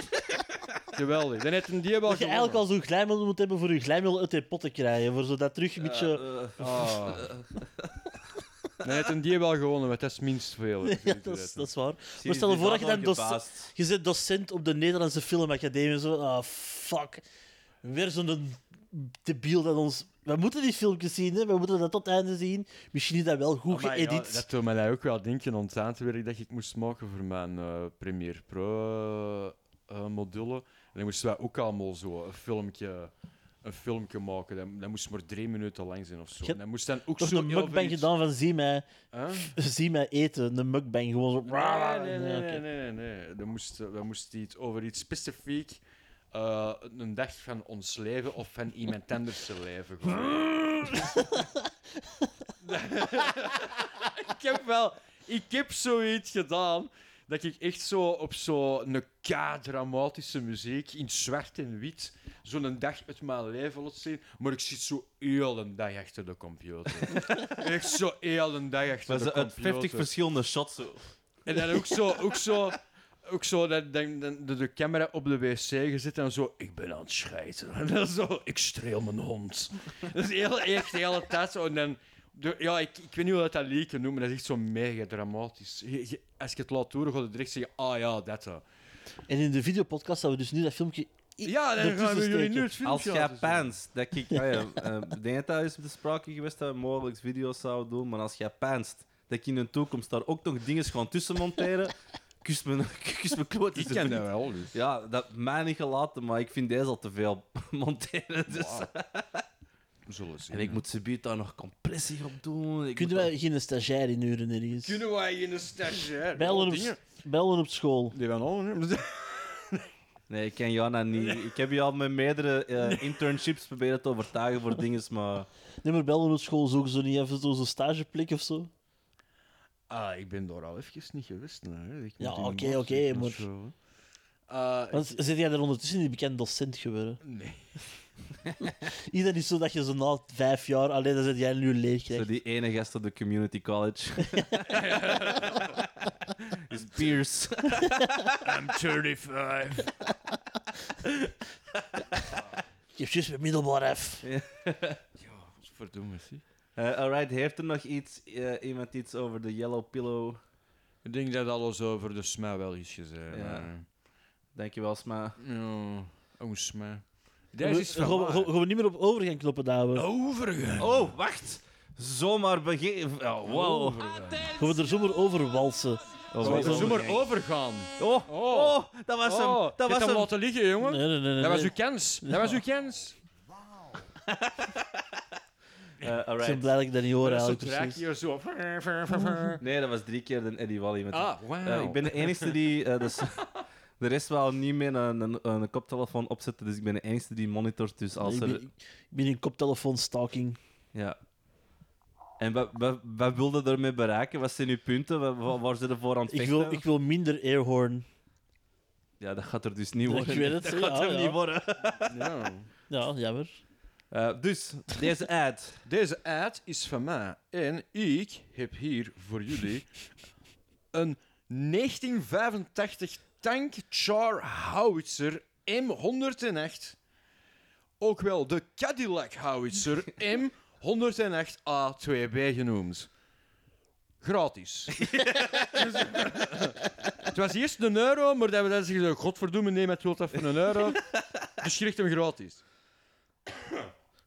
geweldig. Dan heeft een die wel Dat je eigenlijk al zo'n glijmiddel moet hebben voor je glijmiddel uit die pot te krijgen. Voor zo dat terug een beetje... eh, eh, Ah. Dan heeft een die wel gewonnen, want dat is minst veel. ja, dat is, dat is waar. zie, stel je die voor dat je zijn dan al doc- gebaasd. Je zit docent op de Nederlandse Filmacademie. Zo, ah, fuck. Weer zo'n debiel dat ons... We moeten die filmpjes zien, hè. We moeten dat tot het einde zien. Misschien is dat wel goed Amai, geëdit. ja, dat doet mij nou ook wel denken aan het eindwerk dat ik moest maken voor mijn eh Premiere Pro eh, eh, module. En dan moesten wij ook allemaal zo een filmpje, een filmpje maken. Dat, dat moest maar drie minuten lang zijn of zo. Je- En dat moest dan ook Toch zo een heel veel mukbang iets- gedaan van zie mij, Huh? zie mij eten. Een mukbang, gewoon zo... Nee, nee, Ja, nee, oké. nee, nee, nee, nee. Dan moest, eh, dan moest iets over iets specifiek, eh, een dag van ons leven of van iemand anders zijn leven. gewoon. ik heb wel, ik heb zoiets gedaan dat ik echt zo op zo'n k-dramatische muziek in zwart en wit zo'n dag uit mijn leven laat zien, maar ik zit zo heel een dag achter de computer. echt zo heel een dag achter Maar de ze uit computer. 50 verschillende shots. zo. En dan ook zo, ook zo, ook zo dat, dan, dan- de, de camera op de wc gezet en zo, ik ben aan het schijten. En dan zo, ik streel mijn hond. Dat is heel, echt de hele tijd zo. En dan, de- ja, ik, ik weet niet hoe dat dat leken noemt, maar dat is echt zo mega dramatisch. Je- je- als ik het laat horen, ga je direct zeggen, ah ja, dat. hè. En in de videopodcast zouden we dus nu dat filmpje... i- Ja, dan ertussen gaan we jullie steken. nu het filmpje Als jij laten zien. pants, dat ik... ah ja, eh, ik denk dat dat is op de sprake geweest dat we mogelijk video's zouden doen, maar als jij panst, dat ik in de toekomst daar ook nog dingen gaan tussen monteren, kus mijn, kus mijn kloot. Ik ken dat wel, dus. Ja, dat mij niet gelaten, maar ik vind deze al te veel monteren. Dus. We zullen zien. En ik moet subiet daar nog compressie op doen. Ik Kunnen moet wij geen stagiair inhuren ergens? Kunnen wij in een stagiair? Bellen Oh, op, dingen. bellen op school. Die van al, hè. Nee, ik ken Jana niet. Ik heb je al met meerdere eh, internships proberen te overtuigen voor dingen, maar... Nee, maar bellen op school zoeken ze niet even zo- zo'n stageplek of zo. Ah, ik ben daar al even niet geweest. Nee. Ik Ja, moet in de oké, maand oké, zitten of maar- zo, hè. Eh, Want zit jij er ondertussen niet bekend docent geworden? nee. Iedereen is zo dat je zo na vijf jaar alleen dan zit jij nu leeg Zo krijgt. die ene gast op de community college. is Pierce. I'm 35. Je hebt juist met middelbaar F. Ja, verdomme, zie. Eh, alright, heeft er nog iets, eh, iemand iets over de Yellow Pillow? Ik denk dat alles over de sma wel is gezegd. Ja. maar- Dankjewel, Sma. Ja, oh, sma. Gaan Deze we- is van gaan we- waar. gaan we niet meer op overgang knoppen, dames. Overgaan. Oh, wacht! Zomaar begin. Oh, wow. Overgaan. Gaan we er zomaar over walsen? Oh, Zullen we wacht. er zomaar overgaan. Oh, Oh, oh, dat was oh. hem. Je Dat hebt was hem hem. laten liggen, jongen. Nee, nee, nee. nee, Dat was nee. uw kans. Dat was uw kans. Eh, Ik ben alright. blij dat ik dat niet hoor, Dat eigenlijk. is raak Precies. hier zo. Nee, dat was drie keer de Eddie Wally. Met Ah, Eh, wauw. ik ben de enige die. eh, dus, de rest wel niet meer een, een, een koptelefoon opzetten, dus ik ben de enige die monitort. Dus als Ik er, ben, ik ben in koptelefoon-stalking. ja. En wat, wat, wat wilde daarmee bereiken? Wat zijn uw punten? Wa- wa- waar ze ervoor aan het Ik vechten? wil, ik wil minder airhorn. Ja, dat gaat er dus niet Ik worden. weet het. dat ja, gaat hem ja. niet worden. Ja. Ja, jammer. Eh, dus, deze ad. Deze ad is van mij. En ik heb hier voor jullie een 1985 tank char howitzer M108. Ook wel de Cadillac howitzer M108A2B genoemd. Gratis. Dus- het was eerst een euro, maar dat we dan zeggen: Godverdomme, neem het wil dat voor een euro. Dus je krijgt hem gratis.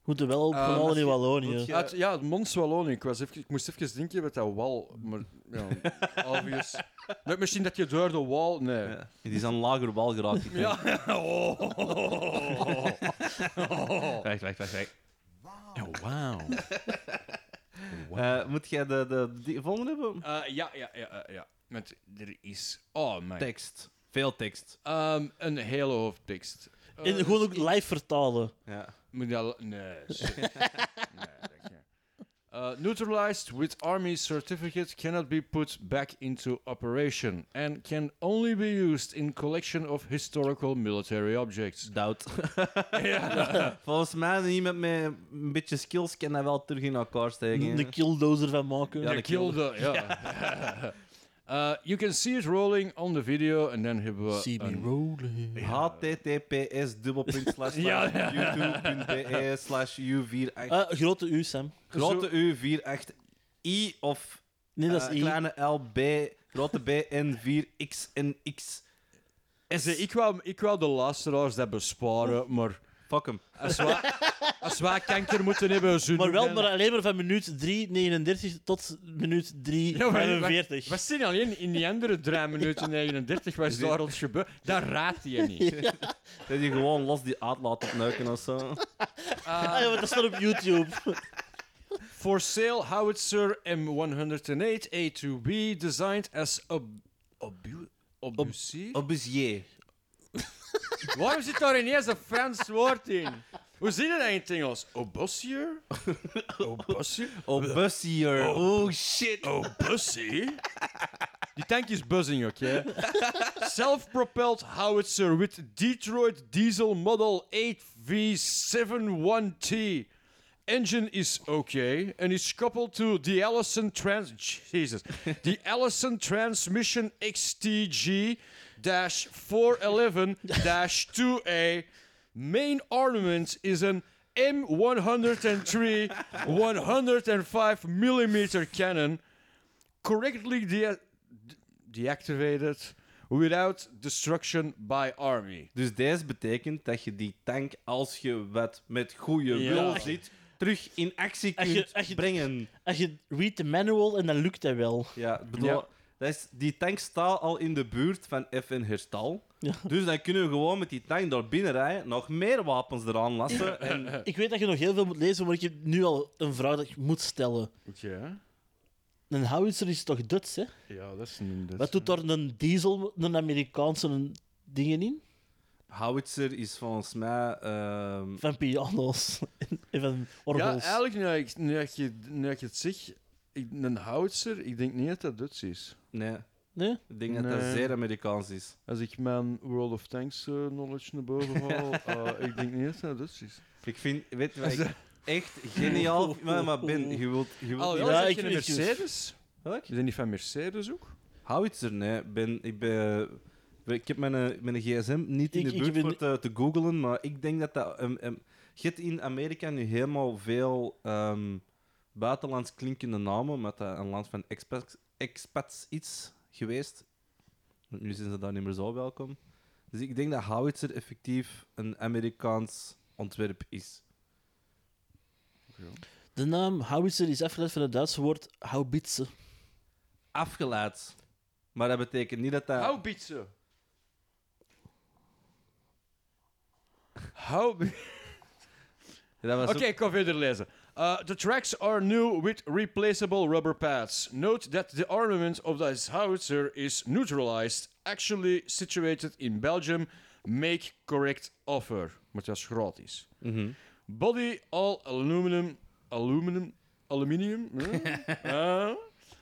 Moet er wel op Eh, vooral in moet Wallonië. je- Ja, Ah, het, ja het Mons Wallonië. Ik, was even, ik moest even denken met dat wal. Maar, ja, obvious. Met misschien dat je door de wal... Nee. Ja. Het is aan lager wal geraakt. ik denk. Ja. Oh. Wacht, wacht, wacht. wacht. Wauw. Oh, Eh, moet jij de, de die volgende hebben? Eh, ja, ja, ja, ja, ja. Want er is... Oh, mijn... Tekst. Veel tekst. Ehm, een hele hoofdtekst. Eh, En gewoon ook live vertalen. Ja. Moet je al- Nee. shit. nee dat kan. Eh, neutralized with army certificate cannot be put back into operation and can only be used in collection of historical military objects. Doubt. Volgens mij iemand met een beetje skills kan dat wel terug in elkaar steken. Een killdozer van maken. Ja, Ja, de de kilde, ja. Eh, you can see it rolling on the video and then hebben we See me een- rolling. https Ja, Eh, ja. youtube.be E slash u48 Ah, grote U, Sam. grote u48 i of Nee, dat eh, is E. I. kleine lb grote b en 4x en x Zeg, ik, wou, ik wou de luisteraars dat besparen, maar fuck hem als wij, als wij kanker moeten hebben, zo Maar wel dan- maar alleen maar van minuut 3,39 tot minuut 3,45. Ja, maar wat- Wat zit alleen in die andere 3 minuten 39 was daar ons gebeurd? Dat raadt je niet. dat je gewoon los die aard laat opnuiken of zo Ah ja, want dat staat op YouTube. For sale howitzer M108 A2B designed as ob obu obusive? obusier Waarom zit daar ineens een Frans woord in? Hoe zie je dat in het Engels? Obusier? Obusier? obusier oh shit Oh, bussy? Die tank is buzzing, oké? Self-propelled howitzer with Detroit diesel model 8V71T. Engine is okay and is coupled to the Allison Trans... Jesus. The Allison Transmission XTG-411-2A. Main armament is an M103 105 millimeter cannon correctly de- deactivated without destruction by army. dus deze betekent dat je die tank als je wat met goede Ja. wil ziet terug in actie Als je- kunt als je- brengen Als je read the manual en dan lukt dat wel. Ja, ik bedoel, Ja. Dat is, die tank staat al in de buurt van F en Herstal. Ja. Dus dan kunnen we gewoon met die tank door binnen rijden, nog meer wapens eraan lassen. En Ik weet dat je nog heel veel moet lezen, maar ik heb nu al een vraag dat ik moet stellen. Oké. Een howitzer is toch Duits, hè? Ja, dat is een... Wat doet daar een diesel, een Amerikaanse dingen in? howitzer is volgens mij... ehm, Van piano's en van Ja, orgels. eigenlijk, nu ik, nu, ik je, nu ik het zeg, ik, een howitzer, ik denk niet dat dat Duits is. nee. Nee? Ik denk dat dat Nee. zeer Amerikaans is. Als ik mijn World of Tanks eh, knowledge naar boven haal, eh, ik denk niet eens dat Dutch is. Ik vind, weet je wat ik echt geniaal vind? Maar, maar Ben, je wilt... Je wilt Oh, niet- ja, Ja, ik- ik- Welk? Je bent niet van Mercedes dus ook? Howitzer, nee. Ben, ik, ben, eh, ik heb mijn, eh, mijn gsm niet in Ik- de ik buurt ben- voor te, te googlen, maar ik denk dat dat... ehm, ehm, je hebt in Amerika nu helemaal veel ehm, buitenlands klinkende namen, met dat een land van expats, expats iets geweest. Want Nu zijn ze daar niet meer zo welkom. Dus ik denk dat Howitzer effectief een Amerikaans ontwerp is. De naam Howitzer is afgeleid van het Duitse woord haubitze. Afgeleid. Maar dat betekent niet dat dat... Houbitsen. Hou. dat was ook- Okay, ik ga verder lezen. Uh, the tracks are new with replaceable rubber pads. Note that the armament of this howitzer is neutralized, actually situated in Belgium. Make correct offer. Maar dat is gratis. Mhm. Body all aluminum. Aluminum? Aluminium? Eh? Eh?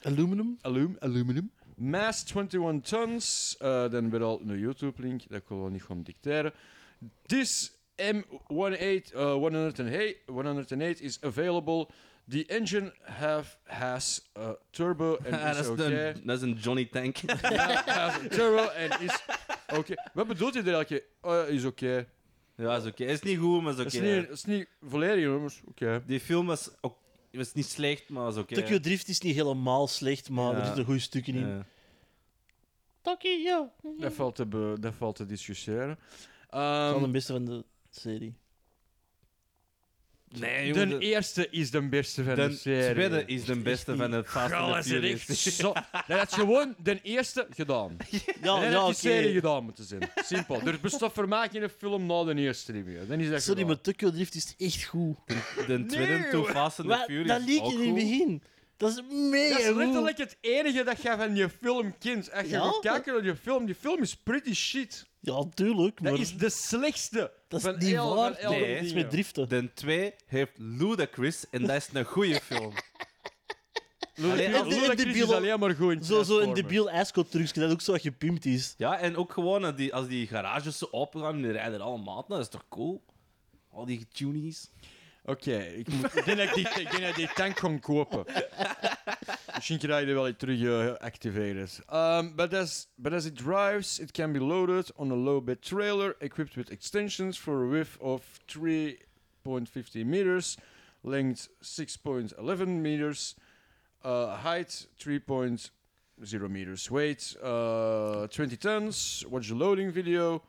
Aluminum? Alum, aluminum. Mass 21 tons. eh, dan weer al een YouTube-link. Dat kunnen we niet gewoon dicteren. This M108 eh, 108 108 is available. The engine have, has a turbo and dus Ah, is dat, is okay. een, dat is een Johnny Tank. Ja, has a turbo and is okay. Wat bedoelt hij er eigenlijk? Oh, is oké. Ja, is oké. Is niet goed, maar is Het oké. is niet- het is niet volledig, hoor, maar is oké. Die film was, ook, was niet slecht, maar was oké. Tokyo Drift is niet helemaal slecht, maar Ja. er zitten goede stukken in. Ja. Tokyo! Dat valt te, be- dat valt te discussiëren. Dat is Ehm, de beste van de serie. Nee, de jongen, de, eerste is de beste van de, de serie. tweede is de beste niet van het Fast and the Alles is Furious. echt zo. Dat had gewoon de eerste gedaan. Ja, dat ja, had die oké. serie gedaan moeten zijn. Simpel. Er bestaat vermaak in een film na de eerste niet meer. Dan is dat Sorry, gedaan. maar Tokyo Drift is echt goed. De tweede Nee, Too Fast and the Wat? Furious. dat liep ook in het goed. begin. Dat is mega Dat is goed. letterlijk het enige dat jij van je film kent. Als je Ja? gaat kijken naar je film, die film is pretty shit. Ja, tuurlijk, maar Dat is de slechtste. dat is van niet heel- van waar. heel Dat Nee. dingen. heeft niets met driften. De twee heeft Ludacris en dat is een goede film. Ludacris- En de- en Ludacris is debiel- alleen maar goed in Zo, zo een Transformers. debiel ijskooptrucje dat ook zo gepimpt is. Ja, en ook gewoon als die, als die garages zo open gaan en die rijden allemaal maat, dat is toch cool? Al die tunies. Oké, ik moet- ik denk dat ik die- ik denk dat ik die tank kon kopen. Misschien kan je die wel terug eh, activeren. Um, but, as, but as it drives, it can be loaded on a low-bed trailer equipped with extensions for a width of 3.50 meters, length 6.11 meters, uh, height 3.0 meters, weight uh, 20 tons. Watch the loading video.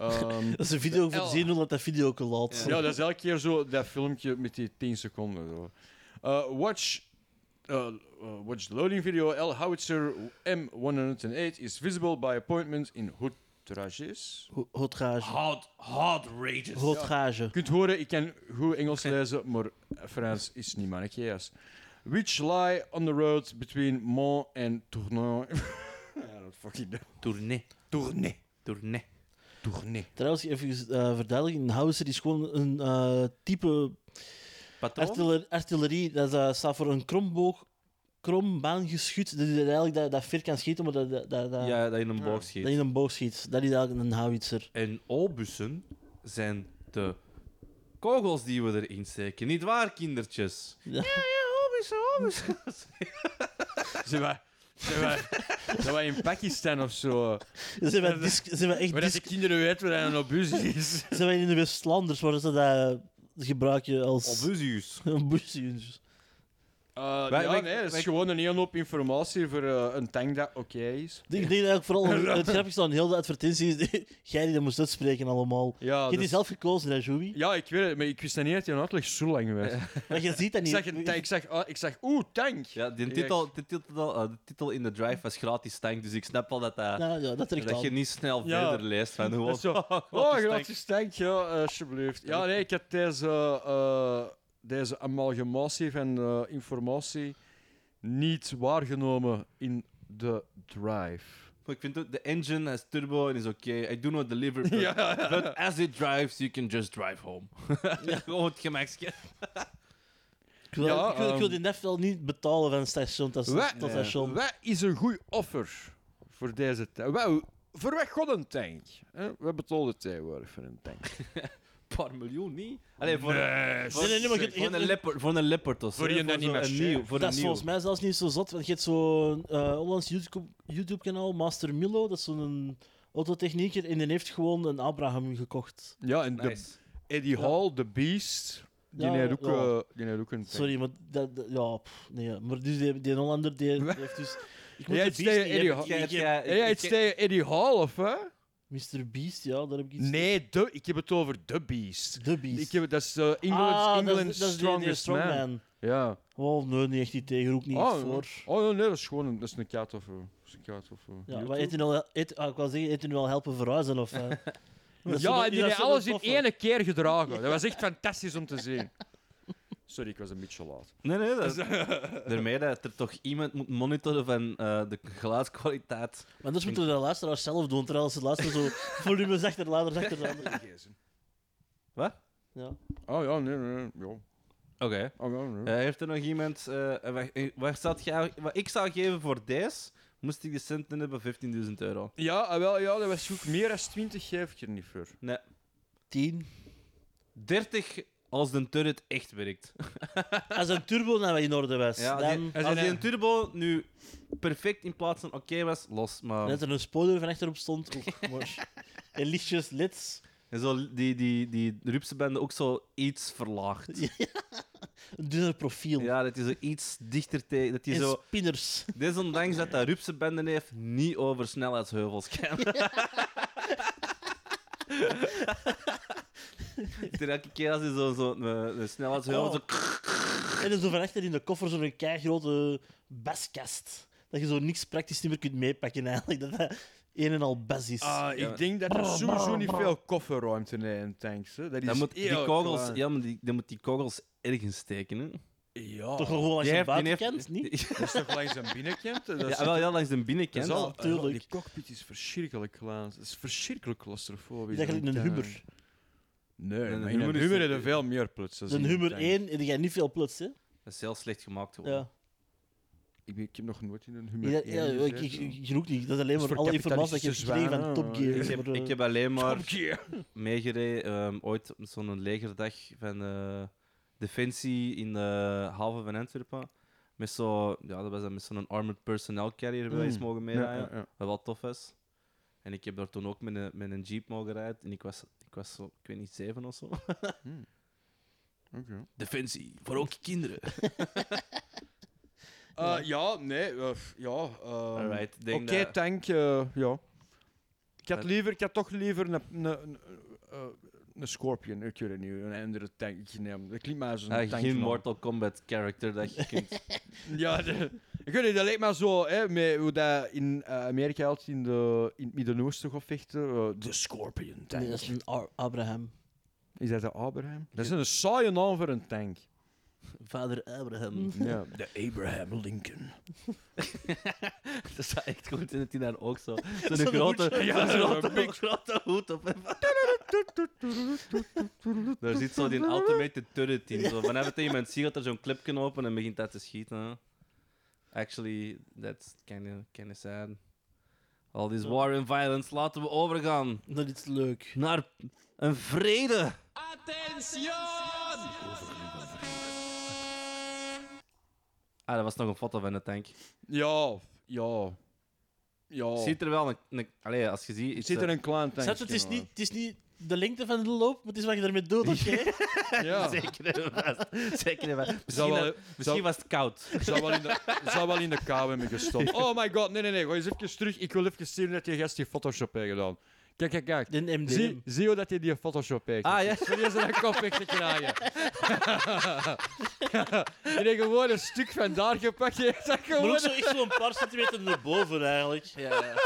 Um, Dat is een video voor L. te zien hoe dat dat video ook laat. Ja. zo. ja, dat is elke keer zo, dat filmpje met die 10 seconden. Zo. Eh, watch, eh, eh, watch the loading video. L. Howitzer M108 is visible by appointment in Hoetrages. Ho- Hotrage. Hard, hard rages. Hotrage. Je kunt horen, ik kan goed Engels lezen, maar Frans is niet mijn keus. Which lie on the road between Mont and Tournon. ja, dat fucking know. Tournee. Tournai. Tournee. Tournai. Trouwens, even eh verduidelijken. Een howitzer is gewoon een eh, type Patroon? artiller- artillerie. Dat eh, staat voor een kromboog, krombaangeschut. Dat je eigenlijk dat, dat ver kan schieten, maar dat, dat, dat, dat- Ja, dat je in een Ja. boog schiet. dat je een boog schiet. Dat is eigenlijk een howitzer. En olbussen zijn de kogels die we erin steken. Niet waar, kindertjes? Ja. olbussen, olbussen. Zijn wij- zijn wij- zijn wij in Pakistan of zo? Dan zijn wij, dis- zijn wij echt Waar dat de dis- kinderen weten waar een obus is. zijn wij in de West-Landers, waar ze dat gebruiken als... Olbusius. Een busje. Eh, Wij- ja, wij- nee, dat is wij- gewoon een hele hoop informatie voor eh, een tank dat oké is. Ik denk eigenlijk vooral het grappigste aan heel de advertentie is jij die dat moest uitspreken allemaal. Ja, je hebt die dus- zelf gekozen, hè, Joey? ja, ik weet het, maar ik wist dat niet dat je uitleg zo lang was. Maar je ziet dat Ik niet. zag, een tank- ik, zag, ah, ik zag, oeh, tank! Ja, die Ik- titel, die titel, eh, de titel in de drive was gratis tank, dus ik snap al dat, dat, Nou ja, dat trekt dat je aan. niet snel Ja. verder leest. Van, hoe Dat is zo, oh, gratis tank, ja, eh, alsjeblieft. Ja, nee, ik heb deze, eh, deze amalgamatie van eh, informatie niet waargenomen in de drive. Ik vind ook, de engine has turbo en is oké. I do not deliver, but, but as it drives, you can just drive home. Gewoon het gemakje. Ik wil, Ja, ik wil, ik wil ehm, die nef wel niet betalen van station tot, Wat, tot station. wat is een goed offer? voor deze tijd. Wel, verweg god een tank. Hè? We betalen tegenwoordig voor een tank. Een paar miljoen niet? Allee, voor, voor, Nee, nee, nee, maar je- voor een leopard, voor een leopard of zo, Voor je hè, dat niet zo'n meer een share. nieuw, voor dat een is nieuw. volgens mij zelfs niet zo zot. Want je hebt zo'n eh onlangs YouTube- YouTube-kanaal, Master Milo, dat is zo'n autotechnieker. En die heeft gewoon een Abraham gekocht. Ja, en de, Nice. Eddie Ja. Hall, The Beast, die, Ja, heeft ook, ja. eh, die heeft ook een tank. Sorry, maar dat, dat- ja, pff, nee. Maar dus die, die Hollander die, die heeft dus. Ik moet Jij hebt het tegen beest niet Eddie hebben. Jij- Ik heb- jij- Hey, ik- het is tegen Eddie Hall, of hè? Mr. Beast, ja, daar heb ik iets. Nee, de, ik heb het over The Beast. The Beast. Ik heb, dat is eh, England, Ah, dat is- England's dat is die- die Strongest Man. strongman. Ja. Oh, nee, niet echt die tegen, ook niet oh, voor. oh, nee, dat is gewoon een, dat is een kat of... eh, dat is een kat of eh, Ja, YouTube. maar eet u nou wel- eet, ah, ik wou zeggen, eet u nu wel helpen verhuizen of... eh? Dat is ja, wel- en die dat is heeft wel alles een in toffe. één keer gedragen. Dat was echt fantastisch om te zien. Sorry, ik was een beetje laat. Nee, nee, dat is... Daarmee dat er toch iemand moet monitoren van eh, de geluidskwaliteit. Maar dat moeten de luisteraars zelf doen, terwijl ze luisteren zo volumes achter, laders achter, laders. Wat? Ja. Oh ja, nee, nee, nee. Ja. Oké. Oh, ja, nee. Eh, heeft er nog iemand... eh, eh, waar- eh, waar staat jij- wat ik zou geven voor deze, moest ik de centen hebben, 15.000 euro. Ja, ah, wel, ja, dat was goed. Meer dan 20 geef ik er niet voor. Nee. 10. 30 als de turret echt werkt. Als een turbo nou in orde was, Ja, als dan... die, als die een turbo nu perfect in plaats van oké was, los. Maar... Net er een spoiler van achterop stond, ook maar... En lichtjes, lids. En zo die, die, die rupsenbende ook zo iets verlaagd. Ja, Een dunner profiel. dat is zo iets dichter tegen. Dat die en zo, spinners. desondanks dat dat rupsenbende heeft, niet over snelheidsheuvels kan. Dus Elke keer als hij zo'n zo, een, een snelheidsheuvel Oh. zo En dan zo van achter in de koffer zo'n keigrote baskast. Dat je zo niks praktisch niet meer kunt meepakken eigenlijk. Dat dat een en al bas is. Ah, Ja. ik denk dat er sowieso niet veel kofferruimte in een tanks. Hè. Dat is Dan moet die heel kogels, klein. ja, maar die, dan moet die kogels ergens steken. Hè. Ja. Toch wel gewoon als Die je heeft- hem die buiten heeft- kent, niet? Dat is toch langs een binnenkant? Dat is Ja, wel, ja, langs de binnenkant. Dat is al- tuurlijk. Die cockpit is verschrikkelijk klein. Het is verschrikkelijk claustrofobisch. Het is eigenlijk een En, eh, Hummer. Nee, Een maar in Hummer een is- Hummer hebben veel meer plots. dan Een in Hummer tank. 1 en die gaat niet veel plots, hè? Dat is heel slecht gemaakt geworden. Ja. Ik, ben- ik heb nog nooit in een Hummer Ja, 1 ja, ik, gezeten. ik, ik- genoeg niet. Dat is alleen Dat is maar voor alle informatie dat je hebt gekregen kapitalistische van Top zwanen, Gear. Ik heb, Maar, eh, ik heb alleen maar Top Gear. meegereden ehm, ooit op zo'n legerdag van eh, Defensie in de haven van Antwerpen. Met zo'n ja, dat was dan met zo'n armored personnel carrier wel eens Mm. mogen Ja, meerijden. ja, ja. Wat wel tof is. En ik heb daar toen ook met een, met een jeep mogen rijden. En ik was, ik was zo, ik weet niet, zeven of zo. Oké. Defensie, voor ook kinderen. Eh, ja, nee, eh, ja. ehm, Alright, ah, ik denk Oké, dat- tank, eh, ja. Ik had, Dat- liever, ik had toch liever een, een, een, eh, een Scorpion, ik weet het niet, een andere tank. Ik neem, dat klinkt maar zo'n Ah, tank. geen naam. Mortal Kombat character dat je kunt. Ja, de, ik weet niet, dat lijkt maar zo, hè, met hoe dat in eh, Amerika altijd in, de, in het Midden-Oosten gaat vechten. eh, de Scorpion tank. nee, dat is een Ar- Abraham. Is dat de Abraham? Dat is een saaie naam voor een tank. Vader Abraham. Ja. De Abraham Lincoln. dat zou echt goed zijn dat hij daar ook zo. Zo'n Zo'n grote, hoedje. Ja, zo'n zo'n grote, big- grote hoed op hem. Daar zit zo die ultimate turret in. Zo. Wanneer het iemand ziet, gaat er zo'n clipje open en begint dat te schieten. hè. Actually, that's kinda, kinda sad. All this war and violence, laten we overgaan Dat is leuk. naar een vrede. Ah, dat was nog een foto van de tank. Ja, ja. Ja. Ziet er wel een... een allee, als je ziet... eh, is Zit er- Oh. er een klein tank? Zet, het, is niet, het is niet de lengte van de loop, maar het is wat je ermee doet, oké? Ja. Zeker en vast. Zeker en vast. Misschien, wel- was- misschien zou- was het koud. Zou wel in de, zou wel in de kou hebben gestopt. Oh my god, nee, nee, nee. Ga eens even terug. Ik wil even zien dat die gast die Photoshop heeft gedaan. Kijk, kijk, kijk. De MDM. Zie, zie hoe dat hij die Photoshop heeft. Ah, ja. Sorry, ze een kop weg te krijgen. Die heeft gewoon een stuk van daar gepakt. Die heeft dat Maar ook gewoon... zo echt zo'n paar centimeter naar boven eigenlijk.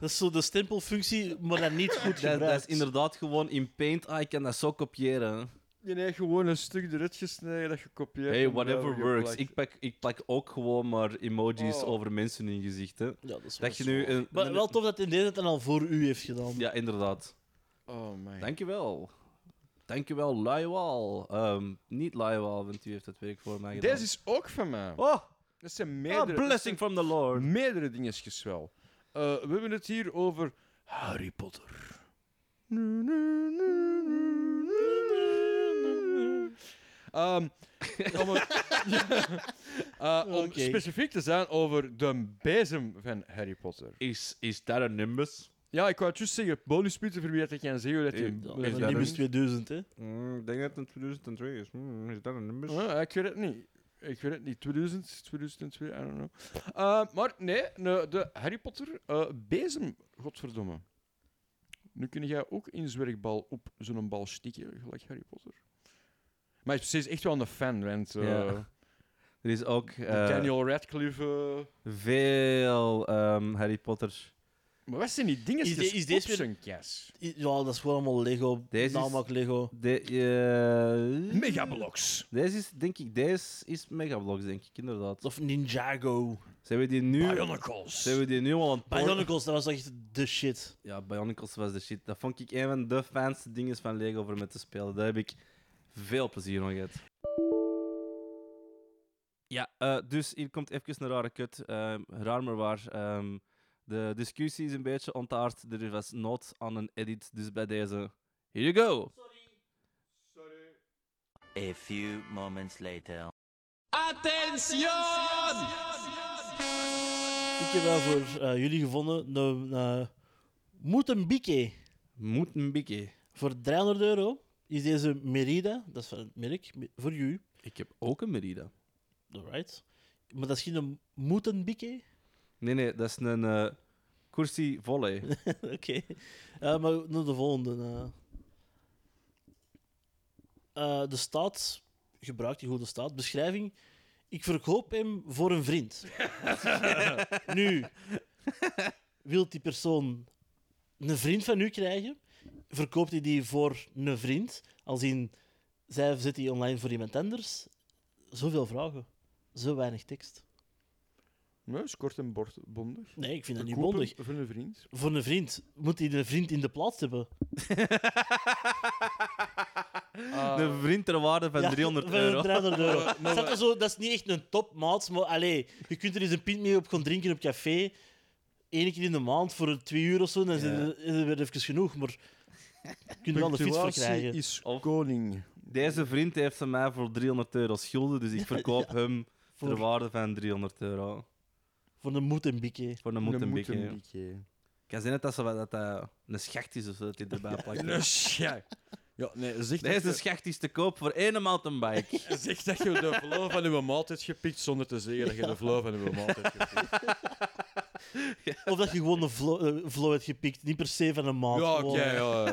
Dat is zo de stempelfunctie, maar dan niet goed Dat, gebruikt. dat is inderdaad gewoon in Paint. Ah, ik kan dat zo kopiëren. Die heeft gewoon een stuk eruit gesneden dat gekopieerd. Hey, en whatever daar works. geplakt. Ik, pak, ik plak ook gewoon maar emojis Oh. over mensen in gezichten. Ja, dat is wel Dat je nu zo. een... Maar wel tof dat in deze het dan al voor u heeft gedaan. Ja, inderdaad. Oh my Dankjewel. Dankjewel, Luiwal. Ehm niet Luiwal, want u heeft het werk voor mij gedaan. Deze is ah, ook van mij. Oh, Dat zijn a meerdere... blessing from the Lord. meerdere dingetjes wel. eh, we hebben het hier over Harry Potter. Ehm, om, een- Eh, om Oké. specifiek te zijn over de bezem van Harry Potter. Is, is dat een nimbus? Ja, ik wou het juist zeggen, bonuspunten voor wie dat ik kan zeggen dat je... Ik- Ja, Is dat is dat niet een- minst 2000, hè? Mm, ik denk dat het een 2002 is. Mm, is dat een nimbus? Ja, ik weet het niet. Ik weet het niet. 2000, 2002, I don't know. Eh, maar nee, ne- de Harry Potter eh, bezem, godverdomme. Nu kun jij ook in zwerkbal op zo'n bal stikken, gelijk Harry Potter. Maar hij is precies echt wel een fan, want eh, Ja. Er is ook de eh, Daniel Radcliffe... eh, veel ehm, Harry Potter. maar wat zijn die dingen? Is de- is deze weer- zijn kas? I- Ja, dat is gewoon allemaal Lego. Deze is- Namaak Lego. De, eh, Megablocks. Deze is, denk ik, deze is Megablocks, denk ik, inderdadaad. Of Ninjago. Zijn we die nu, Bionicles. zijn we die nu al aan het porno- Bionicles, dat was echt de shit. Ja, Bionicles was de shit. Dat vond ik een van de fijnste dingen van Lego voor me te spelen. Daar heb ik veel plezier aan gehad. Ja, eh, dus hier komt even een rare kut. Ehm, raar maar waar. Ehm, de discussie is een beetje ontaard. Er was nood aan een edit, dus bij deze... Here you go! A few moments later. Ik heb wel voor eh, jullie gevonden een eh Moetenbieke. Moet een bieke. Voor 300 euro is deze Merida, dat is van het merk, me- voor u. Ik heb ook een Merida. Alright. Maar dat is geen een Moetenbieke. Nee, nee, dat is een eh cursie volley. Oké. Eh, maar naar de volgende. eh. Eh, de staat, gebruikt die goede staat, beschrijving. Ik verkoop hem voor een vriend. nu, wilt die persoon een vriend van u krijgen? Verkoopt hij die voor een vriend? Als in, zij zit die online voor iemand anders? Zoveel vragen, zo weinig tekst. Nee, is kort en bord- bondig. Nee, ik vind dat niet Verkopen bondig. Voor een vriend. Voor een vriend moet hij een vriend in de plaats hebben. De vriend ter waarde Ah. van Ja, 300 van euro. 300 euro. Snap je zo, dat is niet echt een topmaat, maar allee, je kunt er eens een pint mee op gaan drinken op café. Eén keer in de maand voor twee uur of zo, dan is Ja. het- is het weer even genoeg. Maar je kunt er wel de fiets voor Punctuatie krijgen. is Of- koning. Deze vriend heeft ze mij voor 300 euro schulden, dus ik verkoop hem ter Voor, waarde van 300 euro. voor een moed en bikke. Voor een Een moetenbik. hè. moetenbikje. Kan zijn dat ze wat- dat dat een schacht is of zo, dat hij erbij Een plakt. schaar. Ja, nee, zeg dat, Deze je, schacht is te koop voor één mountainbike. zeg dat je de flow van uw maat hebt gepikt zonder te zeggen dat je de flow van uw maat hebt gepikt. Of dat je gewoon een flow, eh, flow hebt gepikt, niet per se van een maand. Ja, oké, Gewoon, ja,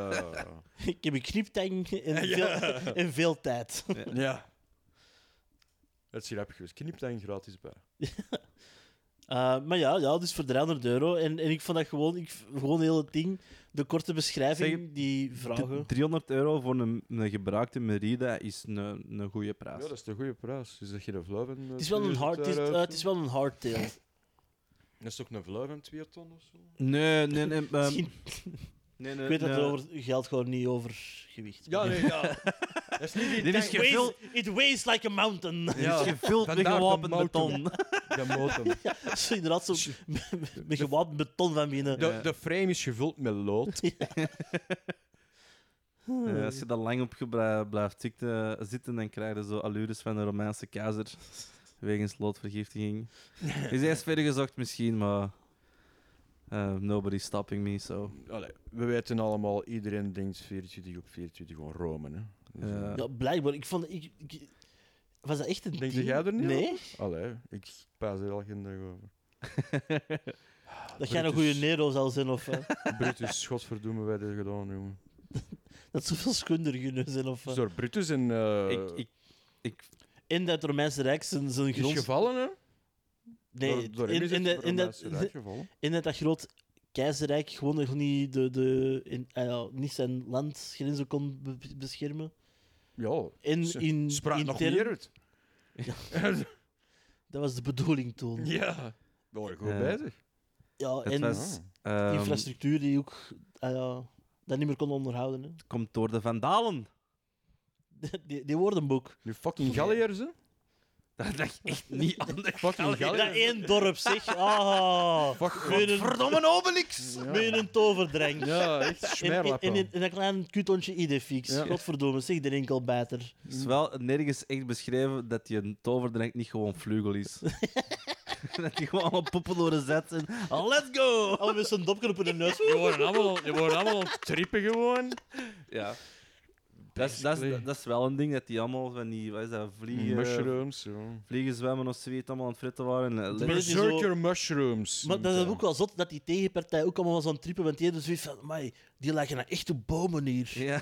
ja, ja. Ik heb een kniptang en, veel, en veel tijd. Ja. Het is hier heb geweest. Knip daar gratis bij. Eh, maar ja, ja, dus voor 300 euro. En, en ik vond dat gewoon, ik, gewoon heel het ding, de korte beschrijving, Zeg, die vragen. 300 euro voor een, een gebruikte Merida is een, een goede Ja, prijs. dat is de goede prijs. Dus dat je de flow van... eh, Het is wel een 2000 hard, het is, euro- eh, het is wel een hardtail. Ehm, Dat is toch een flow van 2 ton of zo? Nee, nee, nee. ehm, Misschien- nee, nee, ik weet dat nee. het over geld gewoon niet over gewicht. Ja, nee, ja. Dat is niet die Dit is tank- It ge- weighs, it weighs like a mountain. Er Ja. is gevuld met Vandaar de gewapend mountain. beton. De motor. Zo, inderdaad, zo met- met gewapend beton van binnen. De, de frame is gevuld met lood. Eh, als je daar lang op gebra- blijft tikte- zitten, dan krijg je zo allures van de Romeinse keizer. Wegens loodvergiftiging. Is eerst verder gezocht misschien, maar... eh, nobody's stopping me, so... Oh. Allee, we weten allemaal, iedereen denkt 24 op 24 gewoon Rome. Hè? Dus, eh, Ja, blijkbaar. Ik vond... Ik, ik- was dat echt een Denk ding? jij er niet Nee, eh, Allee, ik paas er al geen dag over. dat jij een goede Brutus. Nero zal zijn. Of eh, Brutus, godverdomme, wij dit gedaan, jongen. dat zoveel skunder kunnen zijn. Of, Dus eh. door Brutus en... eh ik, ik, ik, in dat Romeinse Rijk zijn, zijn is grond... gevallen, hè? door, Nee, door hem in, is in, het dat- in, dat- Romeinse Rijk gevallen. in dat dat groot keizerrijk gewoon nog niet, de, de, in, ah ja, niet zijn landsgrenzen kon be- beschermen. Ja, In, ze in, spraak in nog term- meer uit. Dat was de bedoeling toen. Ja, ja. Daar goed Ja. bezig. Het en was- ehm, infrastructuur die ook ah ja, dat niet meer kon onderhouden. Hè. het komt door de Vandalen. Die, die woordenboek. Nu fucking Galliërs, hè? Dat dacht echt niet aan de Fucking Dat Gallië. één dorp, zeg. Ah, Fuck, Menen, Verdomme Obelix! Hmm. menen toverdrenk. Ja, echt In, in, smerlap. in, man. in een klein kutontje idefix. Ja. Godverdomme, zeg de enkelbijter. Het is wel nergens echt beschreven dat die een toverdrank niet gewoon vleugel is. dat die gewoon op poepeloren zet en... Let's go! Al met zijn dopje op hun neus. Die worden allemaal, die worden allemaal aan het trippen gewoon. Ja. Dat is, dat, is, dat is wel een ding, dat die allemaal van die... Wat is dat? eh, Vliegen... Mushrooms, zo. Vliegen zwemmen of zoiets, allemaal aan het fritten waren. Eh, Maar let's- is zo- Berserker mushrooms. Maar dat is ook wel zot dat die tegenpartij ook allemaal was aan het trippen. Want die hadden zoiets van: "Amai, die lagen naar echte bomen hier. Ja.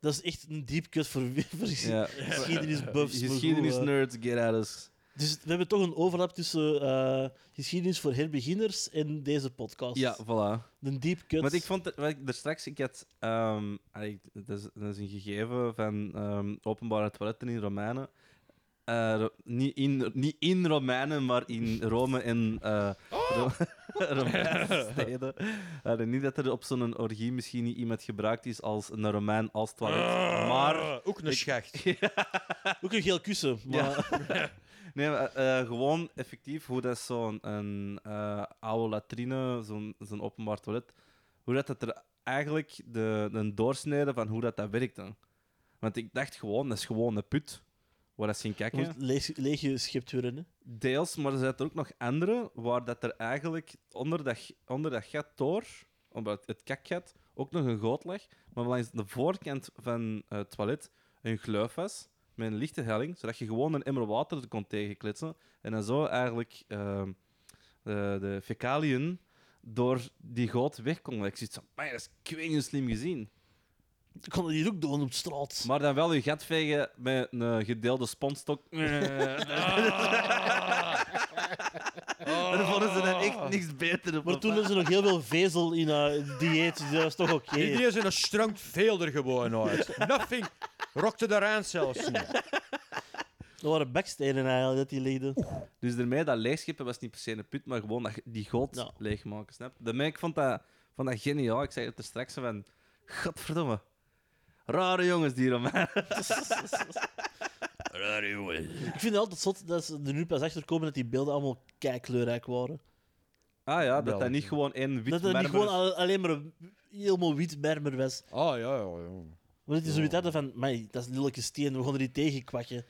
Dat is echt een deep cut voor, voor ja. geschiedenisbuffs. maar goed, eh. Geschiedenisnerds, get at us. Dus we hebben toch een overlap tussen eh, geschiedenis voor herbeginners en deze podcast. Ja, voilà. Een deep cut. Maar ik vond, het- wat ik er straks, ik had, ehm, allee, dat, is, dat is een gegeven van ehm, openbare toiletten in Romeinen. Eh, Ro- niet, in, niet in Romeinen, maar in Rome en eh Ro- Romeinse steden. Eh, niet dat er op zo'n orgie misschien niet iemand gebruikt is als een Romein als toilet. Maar Ah, ook een schacht. Ook een geel kussen. Maar... Nee, maar, eh, eh, gewoon effectief hoe dat zo'n een, eh, oude latrine, zo'n zo'n openbaar toilet, hoe dat, dat er eigenlijk de, de doorsnede van hoe dat, dat werkte. Want ik dacht gewoon, dat is gewoon een put waar dat ze in Je kijken. moet leeg, leeggeschept worden. Hè. Deels, maar er zijn er ook nog andere waar dat er eigenlijk onder dat, g- onder dat gat door, onder het- het kakgat, ook nog een goot lag. Maar langs de voorkant van eh, het toilet een gleuf was met een lichte helling, zodat je gewoon een emmer water er kon tegenkletsen. En dan zo eigenlijk ehm, de, de fecaliën door die goot weg kon. Ik zoiets van, "Amai, dat is kwingen slim gezien. Ik kon dat hier ook doen op straat. Maar dan wel je gat vegen met een eh, gedeelde sponstok. Daar vonden ze dan echt niks beter op. Oh. Maar toen hadden ze nog heel veel vezel in eh dieet, dus dat was toch oké. Die die is in een strank veelder gewoon uit. Nothing. Rokte daaraan zelfs niet. Dat waren bakstenen eigenlijk, dat die ligden. Dus daarmee dat leegscheppen was niet per se een put, maar gewoon dat, die god Ja. leegmaken, snap je? Daarmee, ik vond dat, vond dat geniaal. Ik zei het er straks zo van... Godverdomme. Rare jongens, die Ah Romeinen. Ik vind het altijd zot dat ze er nu pas achter komen dat die beelden allemaal keikleurrijk waren. Ah ja, dat dat België. niet gewoon één wit dat het niet mermer gewoon is. al- alleen maar een helemaal wit mermer was. Ah, ja, ja, ja. Maar dat is zoiets hadden van, mij, dat is een lelijke steen, we gaan er niet tegen kwakken.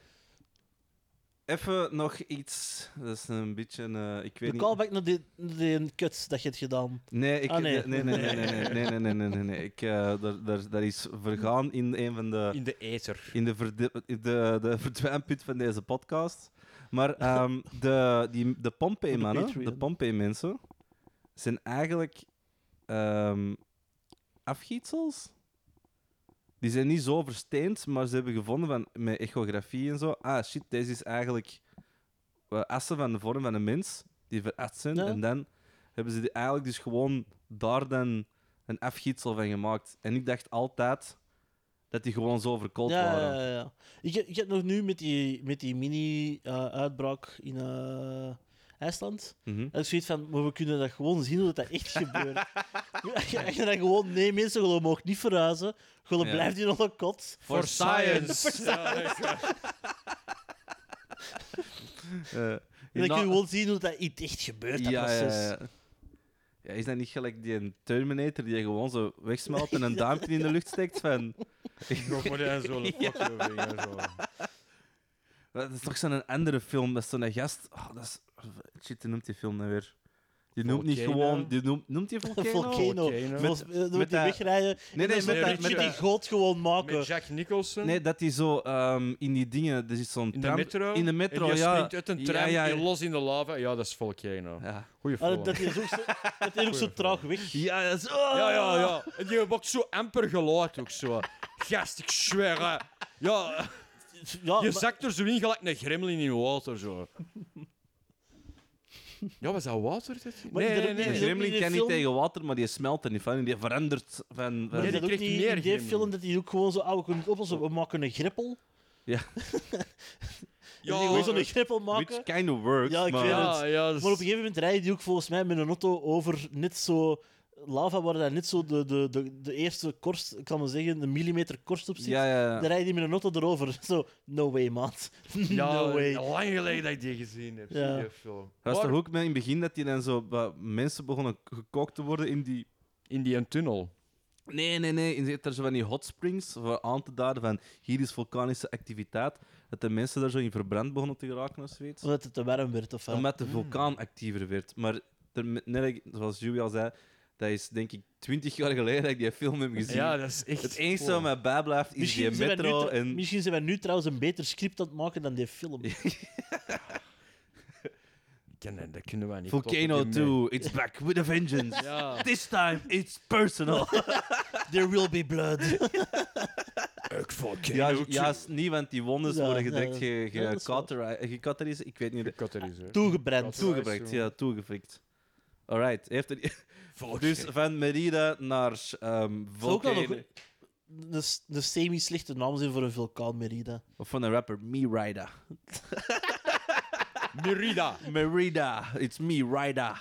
Even nog iets... Dat is een beetje... eh, ik weet De niet... callback naar die, naar die kut dat je hebt gedaan. Nee, ik, Ah, nee. nee. Nee, nee, nee, nee, nee, nee, nee, nee, nee, nee. Ik, eh, daar, daar, daar is vergaan in een van de... In de ether. In de, verde, in de, de verdwijnput van deze podcast. Maar ehm, de, die, de Pompei-mannen, Patreon. de Pompei-mensen, zijn eigenlijk ehm afgietsels. Die zijn niet zo versteend, maar ze hebben gevonden van, met echografie en zo. Ah shit, deze is eigenlijk eh, assen van de vorm van een mens, die verast zijn. Ja. En dan hebben ze die eigenlijk dus gewoon daar dan een afgietsel van gemaakt. En ik dacht altijd dat die gewoon zo verkoold Ja, waren. ja, ja, ja. Ik, heb- ik heb nog nu met die, met die mini-uitbraak in eh, IJsland. Mhm. En ik zoiets van, maar we kunnen dat gewoon zien hoe dat echt gebeurt. Als je als je dan gewoon, nee, mensen gewoon mogen niet verhuizen. Gewoon Ja. blijft hier nog een kot. For science. Eh, En dan kun na- je gewoon zien hoe dat iets echt gebeurt, dat proces. Ja, is dat niet gelijk die een Terminator die gewoon zo wegsmelt en een duimpje in de lucht steekt? Van, Nog maar dan zo'n fucking vinger zo. Ah, dat is toch zo'n andere film, dat is zo'n gast... Oh, dat is, shit, hoe noemt die film nou weer? Die noemt niet Volcano? gewoon... Die noemt, noemt die Volcano? Volcano. Volcano. Volgens- eh, Dan moet met die dat- wegrijden. Nee, nee, en dan met dat- moet die- met moet die dat- god gewoon maken. Met Jack Nicholson. Nee, dat die zo ehm, in die dingen... Er zit zo'n in de tram- metro. In de metro, en die ja. springt uit een tram Ja, ja, en los in de lava. Ja, dat is nou. Volcano. ja. Goeie Ah, film. dat is ook zo, dat is ook zo Goeie traag weg. Ja, dat is- Ja, oh, ja, ja. En die maakt zo amper geluid ook zo. Gast, ik zweer. hè. Ja, Ja, je maar- zakt er zo in gelijk een gremlin in water zo. Ja, was dat water? dit? Maar Nee, er- nee, Een nee. is ook gremlin in de kan niet film- tegen water, maar die smelt er niet van. en Die verandert van... Maar van Ja, is die dat ook krijgt niet meer in die gremlin. film dat hij ook gewoon zo, ah, we kunnen het oplossen, we maken een greppel. Ja, Ja, gewoon zo'n greppel maken. which kind of works, Ah, Ja, ik maar... weet het. ja, ja, dat is- Maar op een gegeven moment rijden die ook volgens mij met een auto over net zo lava waar daar net zo de, de, de, de eerste korst, ik kan maar zeggen, een millimeter korst op zit. Ja, ja, Dan ja. rijd je met een auto erover. Zo, no way, maat. Ja, no way. lang geleden dat ik die gezien heb, Ja. die film. Dat was Maar toch ook met in het begin dat die dan zo wat mensen begonnen gekookt te worden in die. In die een tunnel. Nee, nee, nee. In zit er zo van die hot springs voor aan te duiden van hier is vulkanische activiteit. Dat de mensen daar zo in verbrand begonnen te geraken of zoiets. Omdat het te warm werd. Of, wat. Omdat de vulkaan actiever werd. Maar er, net als- zoals Julia al zei, dat is denk ik twintig jaar geleden dat ik die film heb gezien. Ja, dat is echt... het enige wat mij bijblijft is misschien, die zijn wij metro. nu, tra- En... misschien zijn wij nu trouwens een beter script aan het maken dan die film. Ja, nee, dat kunnen wij niet. Volcano kloppen, 2, die it's back with a vengeance. mee. Ja. This time it's personal. There will be blood. Ik Volcano Ja, ja, juist niet, want die wondes Ja, worden ja, direct ge- ja, dat ge- is waar. cauterized- eh, gecauterized. Ik weet niet. Toegebrand. Cauterized. Toegebracht, ja. ja, toegefrikt. Alright, heeft er... Dus van Merida naar ehm Zou ook wel Volcano. nog- De, de semi-slechte naam zijn voor een vulkaan, Merida. Of van de rapper, Me Rida. Merida. Merida, it's Me Rida.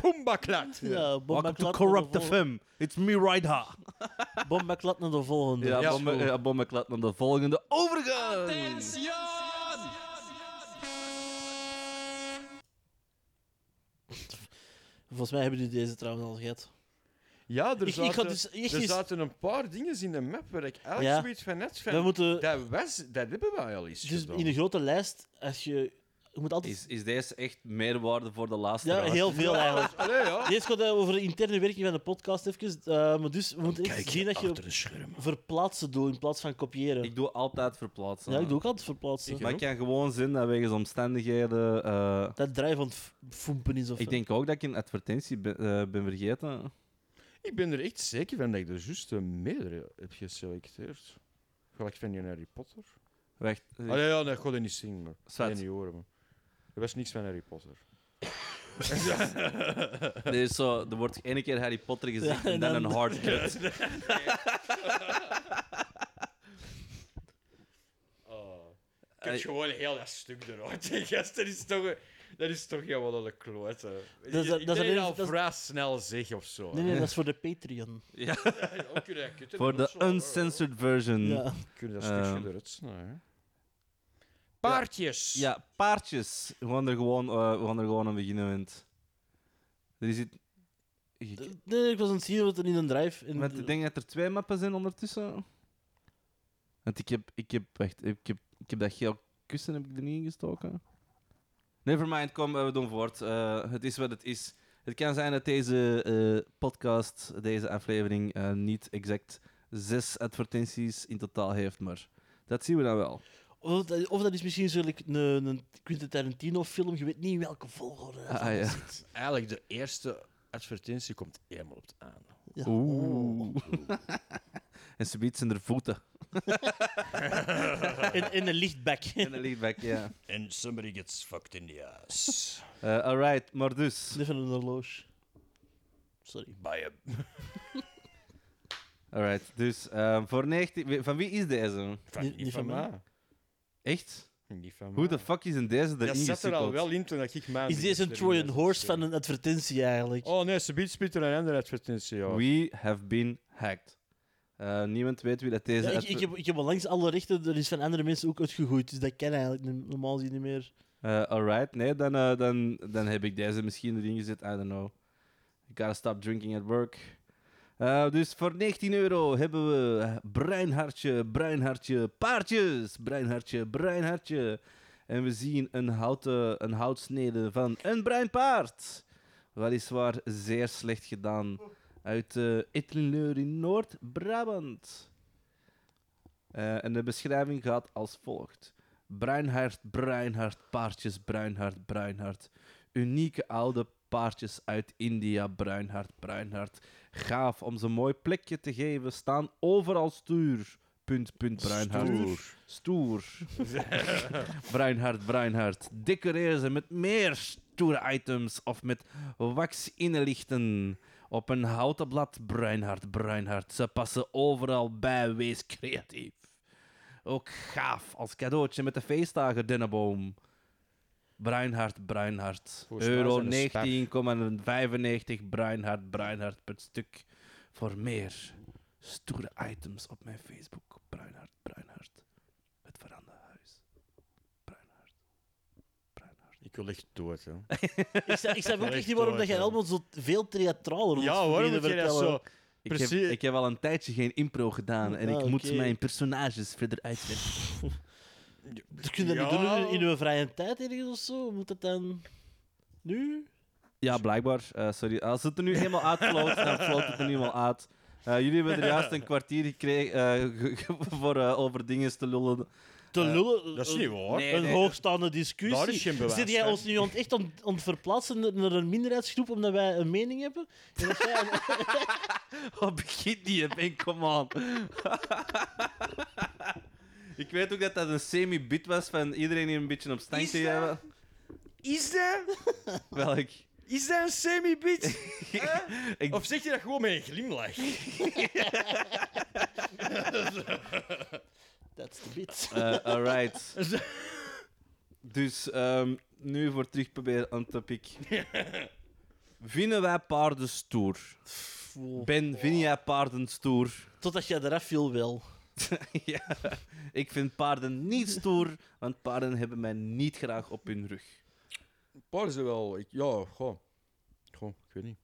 Pumbaklat. Ja, Bob Welcome to McLaughlin Corrupt de FM. It's Me Rida. vol- Bob McLaughlin naar de volgende. Ja, Ja. ja. Bom McLeod naar de volgende overgang. Volgens mij hebben jullie deze trouwens al gehad. Ja, er Ik, ik ga zaten, dus echt er eens- zaten een paar dingen in de map waar ik eigenlijk Ja. zoiets van net We van... moeten... Dat, was, dat hebben wij al eens Dus gedaan. in een grote lijst, als je... Je moet altijd... Is, is deze echt meerwaarde voor de laatste Ja, raad? heel veel eigenlijk. Allee, ja. Deze gaat eh, over de interne werking van de podcast even. eh, maar dus we moeten echt zien dat je een scherm. verplaatsen doet in plaats van kopiëren. Ik doe altijd verplaatsen. ja, ik doe ook altijd verplaatsen. Maar ik kan gewoon zin dat wegens omstandigheden... eh, Dat draai van het f- foempen is of Ik zo. denk ook dat ik een advertentie ben, eh, ben vergeten. Ik ben er echt zeker van dat ik de juiste meerdere heb geselecteerd. Gelijk van die Harry Potter. Wacht. eh, Allee, ja, nee, ik ga dat niet zien, maar... Zwart. Nee, niet horen, maar... Er was niks van Harry Potter. er, is zo, er wordt ene keer Harry Potter gezegd Ja, en en dan dan- een hard cut. Oh. Ik heb Eh, gewoon heel dat stuk eruit. Die gasten is toch... een- Dat is toch helemaal aan de klote. Ik dat is denk dat alleen- al dat is- vrij snel zeg of zo. Nee, nee, dat is voor de Patreon. Ja. Ook kun je dat kutten, Voor dat de is wel- uncensored version. Ja, Ja. Kun je dat Ehm. stukje eruit snijden? Paardjes! paardjes. We gaan er gewoon, eh, we gaan er gewoon aan beginnen. want Er is het... Eh, Nee, nee, ik was aan het zien wat er in een drive... In Met, ik denk dat er twee mappen zijn ondertussen. Want ik heb, ik heb, wacht, ik heb, ik heb dat geel kussen heb ik er niet in gestoken. Nevermind, kom, eh, we doen voort. Eh, het is wat het is. Het kan zijn dat deze eh, podcast, deze aflevering, eh, niet exact zes advertenties in totaal heeft, maar dat zien we dan wel. of, dat, of dat is misschien zo like een, een Quentin Tarantino-film, je weet niet in welke volgorde dat Ah, allemaal ja. zit. Eigenlijk de eerste advertentie komt helemaal op het aan. Ja. Oeh. en ze biedt zijn er voeten. En, en een lichtback. En dan ligt back, ja. And somebody gets fucked in the ass. Eh, alright, maar dus. Even een horloge. Sorry. By a... Alright, dus eh, voor 19... Van wie is deze? Van, Niet- niet van mij. Echt? Niet van Hoe mij. de fuck is een deze erin Dat zat er al gesukkeld? wel in toen ik mijn... Is deze een Trojan Horse van een advertentie eigenlijk? Oh nee, ze biedt spieter een andere advertentie, ja. We have been hacked. Eh, niemand weet wie dat Ja, deze... ik, ik, heb, ik heb al langs alle rechten, er is van andere mensen ook uitgegooid, dus dat ken eigenlijk niet- normaal gezien niet meer. Eh, alright, nee, dan, eh, dan, dan heb ik deze misschien erin gezet. I don't know. I gotta stop drinking at work. Eh, dus voor 19 euro hebben we breinhartje, breinhartje, paardjes, breinhartje, breinhartje. En we zien een, houten, een houtsnede van een breinpaard. Weliswaar zeer slecht gedaan. Uit eh Ettenleur in Noord-Brabant. Eh, en de beschrijving gaat als volgt. Bruinhart, bruinhart, paardjes, bruinhart, bruinhart. Unieke oude paardjes uit India, bruinhart, bruinhart. Gaaf om ze een mooi plekje te geven, staan overal stuur. Punt, punt, bruinhart. Stoer. Stoer. bruinhart, bruinhart. Decoreer ze met meer stoere items of met wax inlichten. Op een houten blad, bruinhart, bruinhart. Ze passen overal bij, wees creatief. Ook gaaf als cadeautje met de feestdagen, dennenboom. Breinhard, Breinhard. Volgens mij Euro zijn het 19,95 Breinhard, Breinhard per stuk. Voor meer stoere items op mijn Facebook. Breinhard, Breinhard. Het veranderhuis. Breinhard, Breinhard. Ik wil echt dood, hè. Ik snap, ik snap ook Echt echt niet waarom waar, dat jij ja. allemaal zo veel theatraler wordt. Ja, waarom moet je dat zo... Ik heb, Precies. Nou, ik heb al een tijdje geen impro gedaan en Ah, ik moet oké. mijn personages verder uitwerken. Dat kun je dat niet Ja. doen in- in uw vrije tijd ergens of zo? Moet dat dan nu? Ja, blijkbaar. Eh, sorry. Als het er nu helemaal uitvloot, dan vloot het er helemaal uit. Eh, jullie hebben er juist een kwartier gekregen eh, ge- ge- voor eh, over dingen te lullen. Te Eh, lullen. Dat is niet waar. nee. een hoogstaande discussie. Daar is geen bewijs Zit jij van. ons nu aan het echt aan aan het verplaatsen naar een minderheidsgroep omdat wij een mening hebben? En dat jij een- Oh, begin niet, Ben, come on. Ik weet ook dat dat een semi-bit was van iedereen hier een beetje op stank te Is dat- hebben. Is dat... Welk? Is dat een semi-bitch? Ik- Of zeg je dat gewoon met een glimlach? That's the bit. Eh, alright. Dus ehm, nu voor terug proberen aan het topic. Vinden wij paarden stoer? Wow. Eh, Ben, vind jij paarden stoer? Totdat jij eraf viel wel. ja, ik vind paarden niet stoer, want paarden hebben mij niet graag op hun rug. Paarden zijn wel... Ik, ja, goh. Goh, ik weet niet.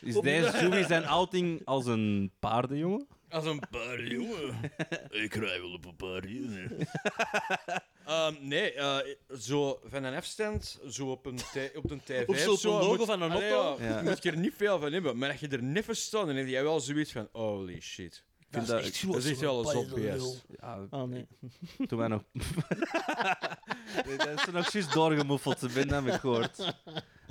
Is deze Joey zijn outing als een paardenjongen? Als een paar jongen. ik rij wel op een paar jongen. nee, eh, zo van een afstand, zo op een, tij- op een tv. Of zo op een logo moet- van een Allee, auto. Ja, Ja. Moet je er niet veel van hebben, maar als je er niet van staat, dan heb jij wel zoiets van: holy shit. vind is dat- echt dat is echt wel een zo'n zotbeest. lul. Ja, Ah, nee. toen wij nog... Nee, dat is er nog juist doorgemoffeld, ze ben dat heb ik gehoord.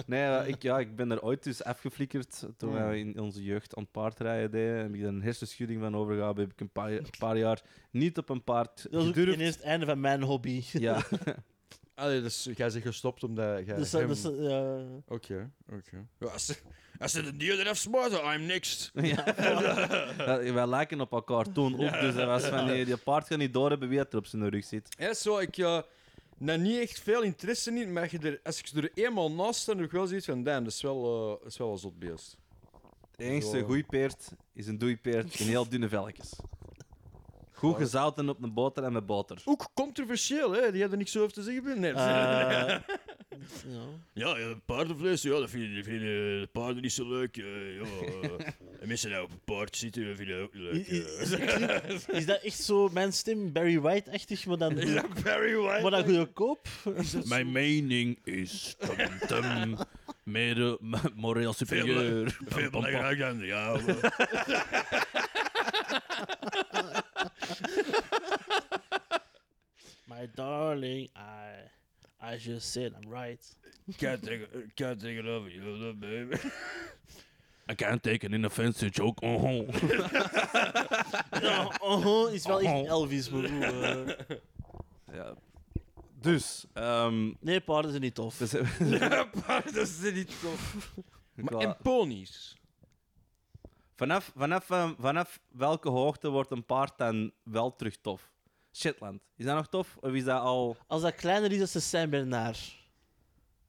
Nee, ja, ik, ja, ik ben er ooit dus afgeflikkerd toen wij in onze jeugd aan het paardrijden deden. Heb ik daar een hersenschudding van overgehouden. Heb ik een paar, een paar jaar niet op een paard Dat is ook gedurfd. ineens het einde van mijn hobby. Ja, Allee, dus jij bent gestopt omdat jij. Dus, dat- hem- dus, Oké, eh, oké. Ja, als, ze- als ze de dier eraf smuiten, I'm next. Ja. Ja, wij lijken op elkaar toen ook, dus dat was van die, die paard gaat niet doorhebben wie het er op zijn rug zit. Ja, zo, ik eh nou niet echt veel interesse in, maar je er, als ik er eenmaal naast sta, dan heb ik wel zoiets van: damn, dat is wel, eh dat is wel een zot beest. Het enige Zo. goeie peert is een doeipeert in heel dunne velkjes. Goed gezouten op een boter en met boter. Ook controversieel, hè? Die hadden niks over te zeggen. Ben. Nee. eh, ja. Ja, ja, paardenvlees, ja, dat vinden, vinden eh, de paarden niet zo leuk. eh, ja, eh. en mensen die op een paard zitten, dat vinden dat ook niet leuk. I- eh. i- Is dat echt zo mijn stem, Barry White-achtig, maar dan, Is dat Barry White? maar dan goedkoop? Dus- Mijn mening is tum, tum, mede- m- moreel superieur. Veel belangrijker dan, ja. eh. My darling, I, I just said I'm right. Kan tegen- Kan tegenover je, dat baby. I can't take an inoffensive joke. Oh, oh. Oh, oh, is wel echt Elvis, maar goed, eh. Ja. Dus, ehm Nee, paarden zijn niet tof. dus ik dat is niet tof. Maar, wou- en ponies. vanaf, vanaf, eh, vanaf welke hoogte wordt een paard dan wel terug tof? Shetland. Is dat nog tof? Of is dat al... Als dat kleiner is, dan is het Saint Bernard.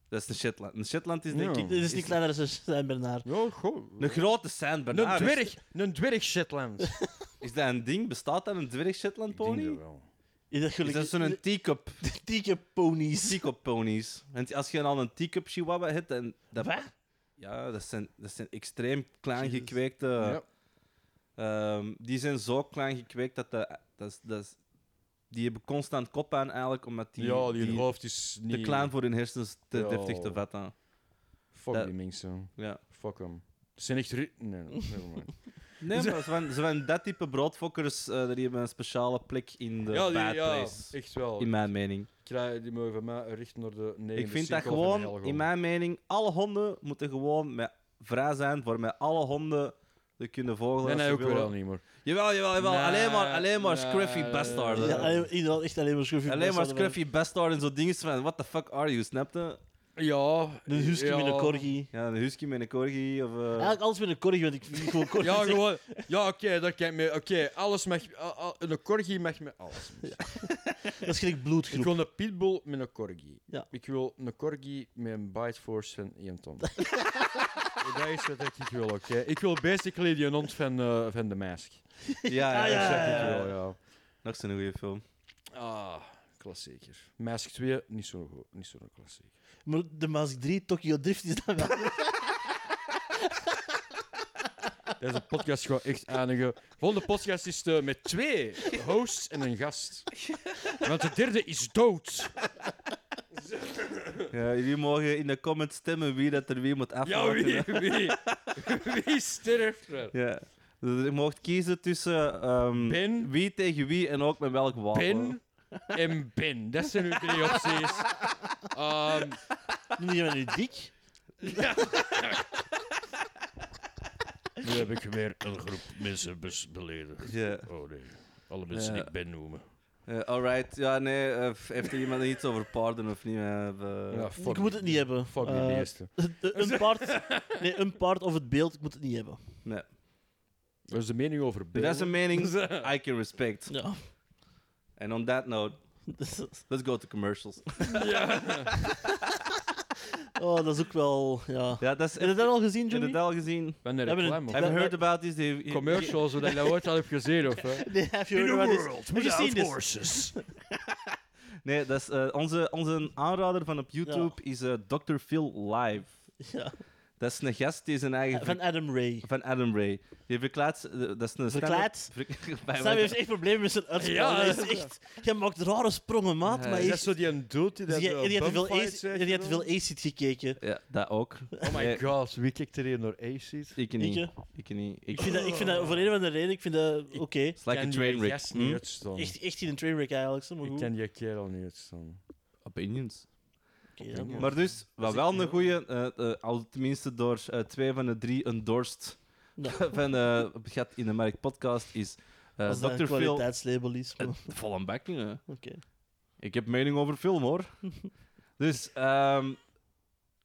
Dat is de Shetland. Een Shetland is denk Ja. ik... Dit is niet kleiner dan een Saint Bernard. Ja, goh. Een grote Saint Een Bernard. dwerg, een dwerg Shetland. Is dat een ding? Bestaat dat een dwerg Shetland pony? Is dat Is dat gelukkig? zo'n teacup, dikke ponies? teacup ponies? Want als je al een teacup chihuahua hebt, dan... Dat, Wat? Ja, dat zijn, dat zijn extreem klein Jezus. gekweekte... Ja. ehm, die zijn zo klein gekweekt dat... De, dat, is- dat is- die hebben constant kop aan eigenlijk, omdat die... ja, die, hoofd is niet... te klein voor hun hersens te Ja. deftig te vatten. Fuck Dat- die mensen. Ja. Fuck hem. Ze zijn echt... ri- Nee, nevermind. Nee, maar zo van- zo van dat type broodfokkers, eh, die hebben een speciale plek in de ja, bad die, ja, place. echt wel. In mijn mening. Krijg die mogen van mij richten naar de negende Ik vind dat cirkel van de gewoon, hel in mijn mening, alle honden moeten gewoon met, vrij zijn voor met alle honden te kunnen vogelen. Nee, als nee, ze ook willen. wel niet, maar... Jawel, jawel, jawel. Nee, alleen maar, alleen maar nee. scruffy bastarden. Ja, alleen, inderdaad, echt alleen maar scruffy. eh, alleen maar bastarden. scruffy bastarden en zo dingen van, what the fuck are you, snapte? Ja. eh, Een husky ja. met een corgi. Ja, een husky met een corgi of... eh, Eigenlijk alles met een corgi, want ik vind gewoon corgi. Ja, echt- gewoon. Ja, oké, dat kan me. Oké, alles mag. a- a- een corgi mag me alles. Dat is gelijk Ik bloedgroep. wil een pitbull met een corgi. Ja. Ik wil een corgi met een bite force van Ian Tom. dat is wat ik wil, oké. Ik wil basically die hond van, eh, van de mask. ja, ja, Ah, ja, Dat exact. zeg ja, ik ja. wel, ja. Dat is een goede film. Ah, klassieker. Mask 2, niet zo'n go- niet zo'n klassieker. Maar de Mask 3, Tokyo Drift is dan wel. Deze podcast gaat echt eindigen. Volgende podcast is eh, met twee hosts en een gast. Want de derde is dood. Ja, jullie mogen in de comments stemmen wie dat er wie moet Ja, afmaken. wie? Wie, wie sterft er? Ja. Dus je mocht kiezen tussen ehm, Ben. wie tegen wie en ook met welk wapen. Ben en Ben. Dat zijn uw drie opties. Ehm, Noem je mij nu dik? Nu heb ik weer een groep mensen bes- beledigd. Ja. Oh nee. Alle mensen Ja. die ik ben noemen. Eh, alright, ja, nee. eh, f- heeft er iemand iets over paarden of niet? Eh, we- ja, fuck ik moet die- het niet hebben. Fuck die Eh, beesten. een paard. Nee, een paard of het beeld, ik moet het niet hebben. nee. Dat is de mening over Ben. Dat is een mening I can respect. Ja. And on that note, Dus, let's go to commercials. Oh, dat is ook wel. Ja. ja, dat is... Heb je dat al gezien, Johnny? al gezien? Ben de We hebben reclame. een- Have you we- heard about this? They- Commercials, zodat je dat ooit al hebt gezien, of hè? Nee, have In you the heard about world, this? Have you seen without this? horses. Nee, dat is, eh, onze, onze aanrader van op YouTube is eh, Dr. Phil Live. Ja. Dat is een gast die zijn eigen... Van Adam Ray. Van Adam Ray. Die verklaart... eh, Dat is een Verklaart? Verklaart? Sam heeft echt problemen met zijn uitspraak. Ja. Dat is echt... Jij maakt rare sprongen, maat. Ja. maar dus Is dat echt... zo die een dude die dat die, zo die had te veel bumfights Ace- heeft die had te gedaan? veel Acid gekeken. Ja, dat ook. Oh my Eh, god, wie kijkt er hier naar Acid? Ik Weet niet. je? Ik niet. Ik Ik vind dat, ik vind dat voor een of andere reden, ik vind dat oké. It's like a train wreck. Hmm? Ik Hm? Echt, echt in een trainwreck eigenlijk. zo, Maar goed. ken die kerel niet uitstaan. Opinions. Oké, ja, maar- Maar dus, wat Als ik wel een heel- goede, eh, eh, al tenminste door eh, twee van de drie endorsed Ja. van eh Gat in de Markt podcast, is eh Als dat Dr. een Phil. kwaliteitslabel is. maar- Eh, Vol aan bak, hè. Oké. Ik heb mening over film hoor. dus, ehm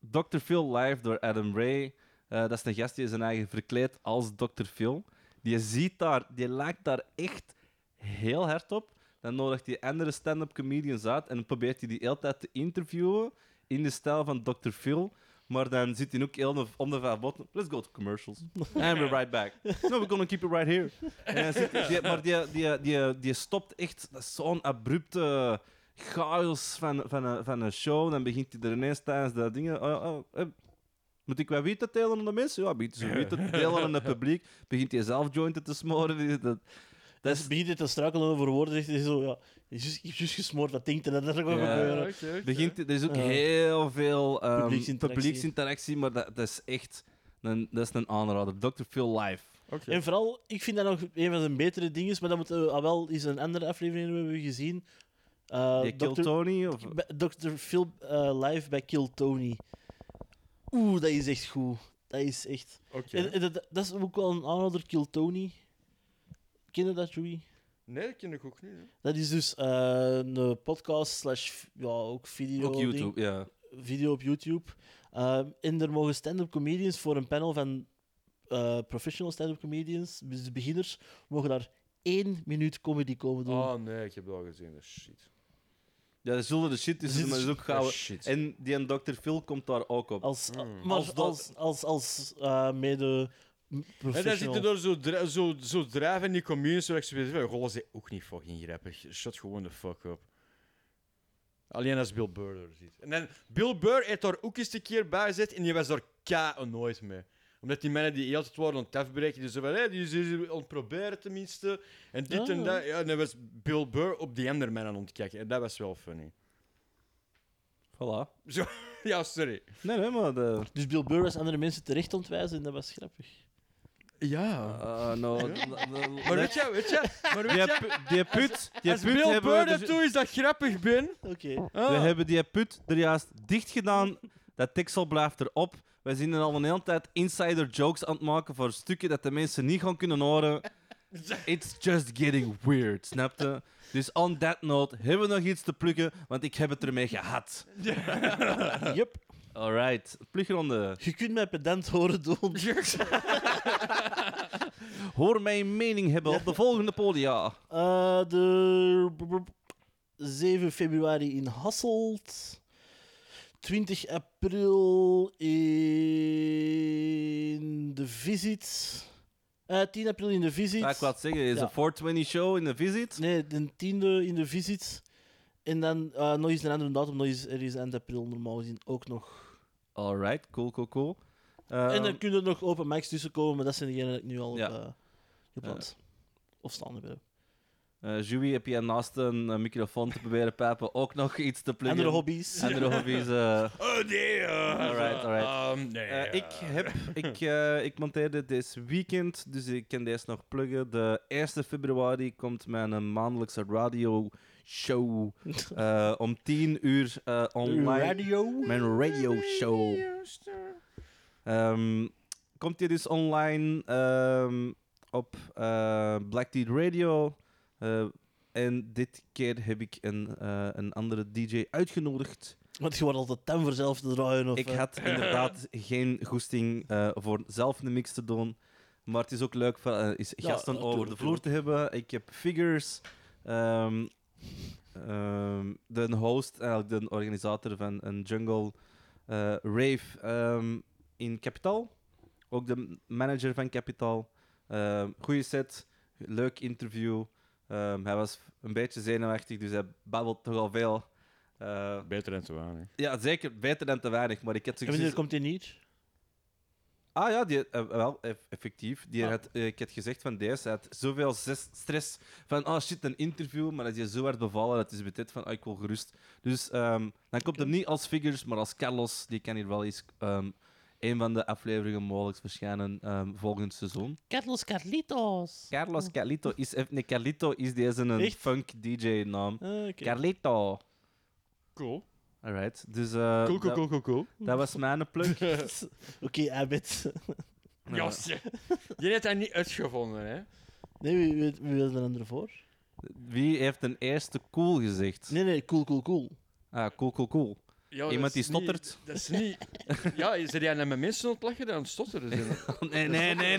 Dr. Phil Live door Adam Ray. Eh, dat is een gast die zijn eigen verkleed als Dr. Phil. Die ziet daar, die lijkt daar echt heel hard op. Dan nodigt hij andere stand-up comedians uit en probeert hij die de hele tijd te interviewen in de stijl van Dr. Phil. Maar dan zit hij ook heel de- om de vijf botten. Let's go to commercials. And we're right back. No, we're gonna keep it right here. En dan zit hij- die- maar die, die, die, die stopt echt dat is zo'n abrupte chaos van, van, een, van een show. Dan begint hij er ineens tijdens dat dingen. Oh, oh, eh, moet ik wat wiet te delen aan de mensen? Ja, begint hij zo wiet te delen aan het publiek. Begint hij zelf jointen te smoren. Dat, dat Dus is, begint hij te struikelen over woorden, zegt hij zo, ja, je is juist- juist gesmoord, dat denkt en dat is ook wel Ja. gebeuren. begint, er is ook Ja. heel veel ehm, Publieksinteractie. publieksinteractie, maar dat, dat is echt een, dat is een aanrader. Dr. Phil Live. En vooral, ik vind dat nog een van zijn betere dingen, maar dat moeten we al wel eens een andere aflevering hebben we gezien. Eh, Die Kill Dr. Tony? Of, Bij- Dr. Phil eh, live bij Kill Tony. Oeh, dat is echt goed. Dat is echt. En, en dat, dat is ook wel een aanrader, Kill Tony. Ken je dat, Joey? Nee, dat ken ik ook niet. hè. Dat is dus eh, een podcast slash ja, ook video. ook ding. YouTube, ja. video op YouTube. Ehm, en er mogen stand-up comedians voor een panel van eh, professional stand-up comedians, dus de beginners, mogen daar één minuut comedy komen doen. Oh nee, ik heb dat al gezien. Dat is shit. Ja, dat zullen de shit Er is, zit- maar dat is ook Dat gauw. is shit. En die en Dr. Phil komt daar ook op. Als, Mm. Maar Hmm. Als als, dat- als, als, eh, mede En dan zit professional. er door zo, dra- zo, zo drijven in die communes, waar ik zo weet van, goh, dat is ook niet fucking grappig. Shut gewoon de fuck up. Alleen als Bill Burr er zit. En dan, Bill Burr heeft daar ook eens een keer bij gezet en die was daar k nooit mee. Omdat die mannen die heel tijd waren aan het afbreken, die zo van, hé, die is hier aan het proberen tenminste. En dit Ah. en dat. Ja, en dan was Bill Burr op die andere mannen aan het kijken. En dat was wel funny. Voilà. Ja, sorry. Nee, nee, maar... De, Dus Bill Burr was andere mensen terecht ontwijzen en dat was grappig. Ja. eh, nou, de- de- Maar weet je, weet je, maar weet Die, je... pu- die put, die Als put Bill hebben we, Burr dus- naartoe is dat grappig, Ben. Oké. Ah. we hebben die put er juist dicht gedaan. Dat deksel blijft erop. Wij zien er al een hele tijd insider jokes aan het maken voor stukken dat de mensen niet gaan kunnen horen. It's just getting weird, snapte? Dus on that note hebben we nog iets te plukken, want ik heb het ermee gehad. Yep. Alright, plugronde. Je kunt mij pedant horen doen. Hoor mijn mening hebben op de volgende podia. Eh, de b- b- b- 7 februari in Hasselt. 20 april in de Visit. Eh, 10 april in de Visit. Ja, Ah, ik wou het zeggen, is Ja. een 420 show in de visit. Nee, de 10e in de Visit. En dan eh, nog eens een andere datum, nog eens ergens eind april normaal gezien ook nog. Alright, cool, cool, cool. Ehm, en dan kunnen er nog open mics tussenkomen, maar dat zijn degenen die ik nu al Ja. heb eh, gepland. of staan hebben. eh, Joey, heb jij naast een eh, microfoon te proberen pijpen ook nog iets te pluggen? Andere hobby's. Andere hobby's. eh. Oh nee. eh, Alright, alright. ehm, nee. Eh, ik heb, ik, eh, ik monteerde dit weekend, dus ik kan deze nog pluggen. De 1 februari komt mijn eh, maandelijkse radio show eh, om 10 uur eh, online. Radio. Mijn radio show. Ehm, komt hier dus online ehm, op eh, Black Deed Radio. Eh, en dit keer heb ik een, eh, een andere DJ uitgenodigd. Want je wordt altijd ten voor zelf te draaien. Of, ik eh, had inderdaad geen goesting eh, voor zelf een mix te doen. Maar het is ook leuk om is Ja, gasten tuurlijk, over de vloer te hebben. Ik heb figures. ehm, ehm, de host, eigenlijk de organisator van een jungle eh, rave ehm, in Capital. Ook de manager van Capital. Ehm goeie set, leuk interview. Ehm, hij was een beetje zenuwachtig, dus hij babbelt toch al veel. Eh, Beter dan te weinig. ja, zeker beter dan te weinig, maar ik heb En wanneer zoiets- komt hij niet? Ah ja, die, eh, wel, eff- effectief. Die Ah. had, eh, ik had gezegd van deze, hij had zoveel zes- stress van, oh shit, een interview, maar dat je zo hard bevallen, dat is betet van, ah, ik wil gerust. Dus ehm, dan komt hem niet als Figures, maar als Carlos, die kan hier wel eens ehm een van de afleveringen mogelijk verschijnen ehm, volgend seizoen. Carlos Carlitos. Oh. Carlos Carlito is, eff- nee, Carlito is deze een Echt? funk DJ-naam. Ah, oké. Carlito. Cool. Alright, dus eh, Cool, cool, dat, cool, cool, cool. dat was mijn plug. Oké, Abbott. Ja. Jasje. Je hebt dat niet uitgevonden, hè? Nee, wie, wie, wie wil er dan ervoor? Eh, Wie heeft een eerste cool gezegd? Nee, nee, cool, cool, cool. Ah, cool, cool, cool. Ja, Iemand dat is die niet- stottert. dat is niet... Ja, is er jij naar mijn mensen aan het lachen dan stotteren ze? Nee, nee, nee, nee.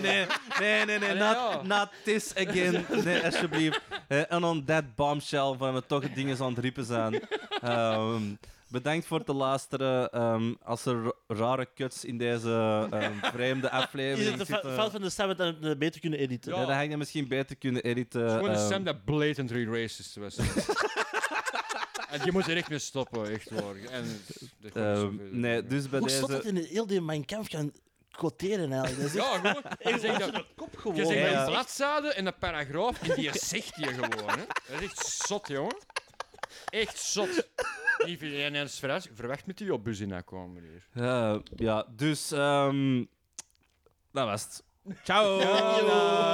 Nee, nee, nee. Allee, ja. Not, not this again. Nee, alsjeblieft. Eh, En on that bombshell van we toch dingen aan het riepen zijn. Ehm, bedankt voor het luisteren. Ehm, als er rare cuts in deze ehm, vreemde Is aflevering het de fa- zitten... fout van de stem dat we het eh, beter kunnen editen? Ja, dan had je misschien beter kunnen editen. Gewoon een ehm. stem dat blatant racist was. en je moet er echt mee stoppen, echt waar. En, dat gaat niet Ehm, zoveel. nee, dus bij Hoe deze... stond dat in heel die Mijn Kampf gaan quoteren eigenlijk? Dat is echt Ja, gewoon. Je zegt dat... kop Je gewoon. zegt Ja, dat ja. een bladzijde en een paragraaf en die zegt je gewoon. Hè. Dat is echt zot, jongen. Echt zot. Niet voor jij nergens verrast. Verwacht met die op bus in komen hier. Eh, ja, dus... ehm dat was het. Ciao! Ja.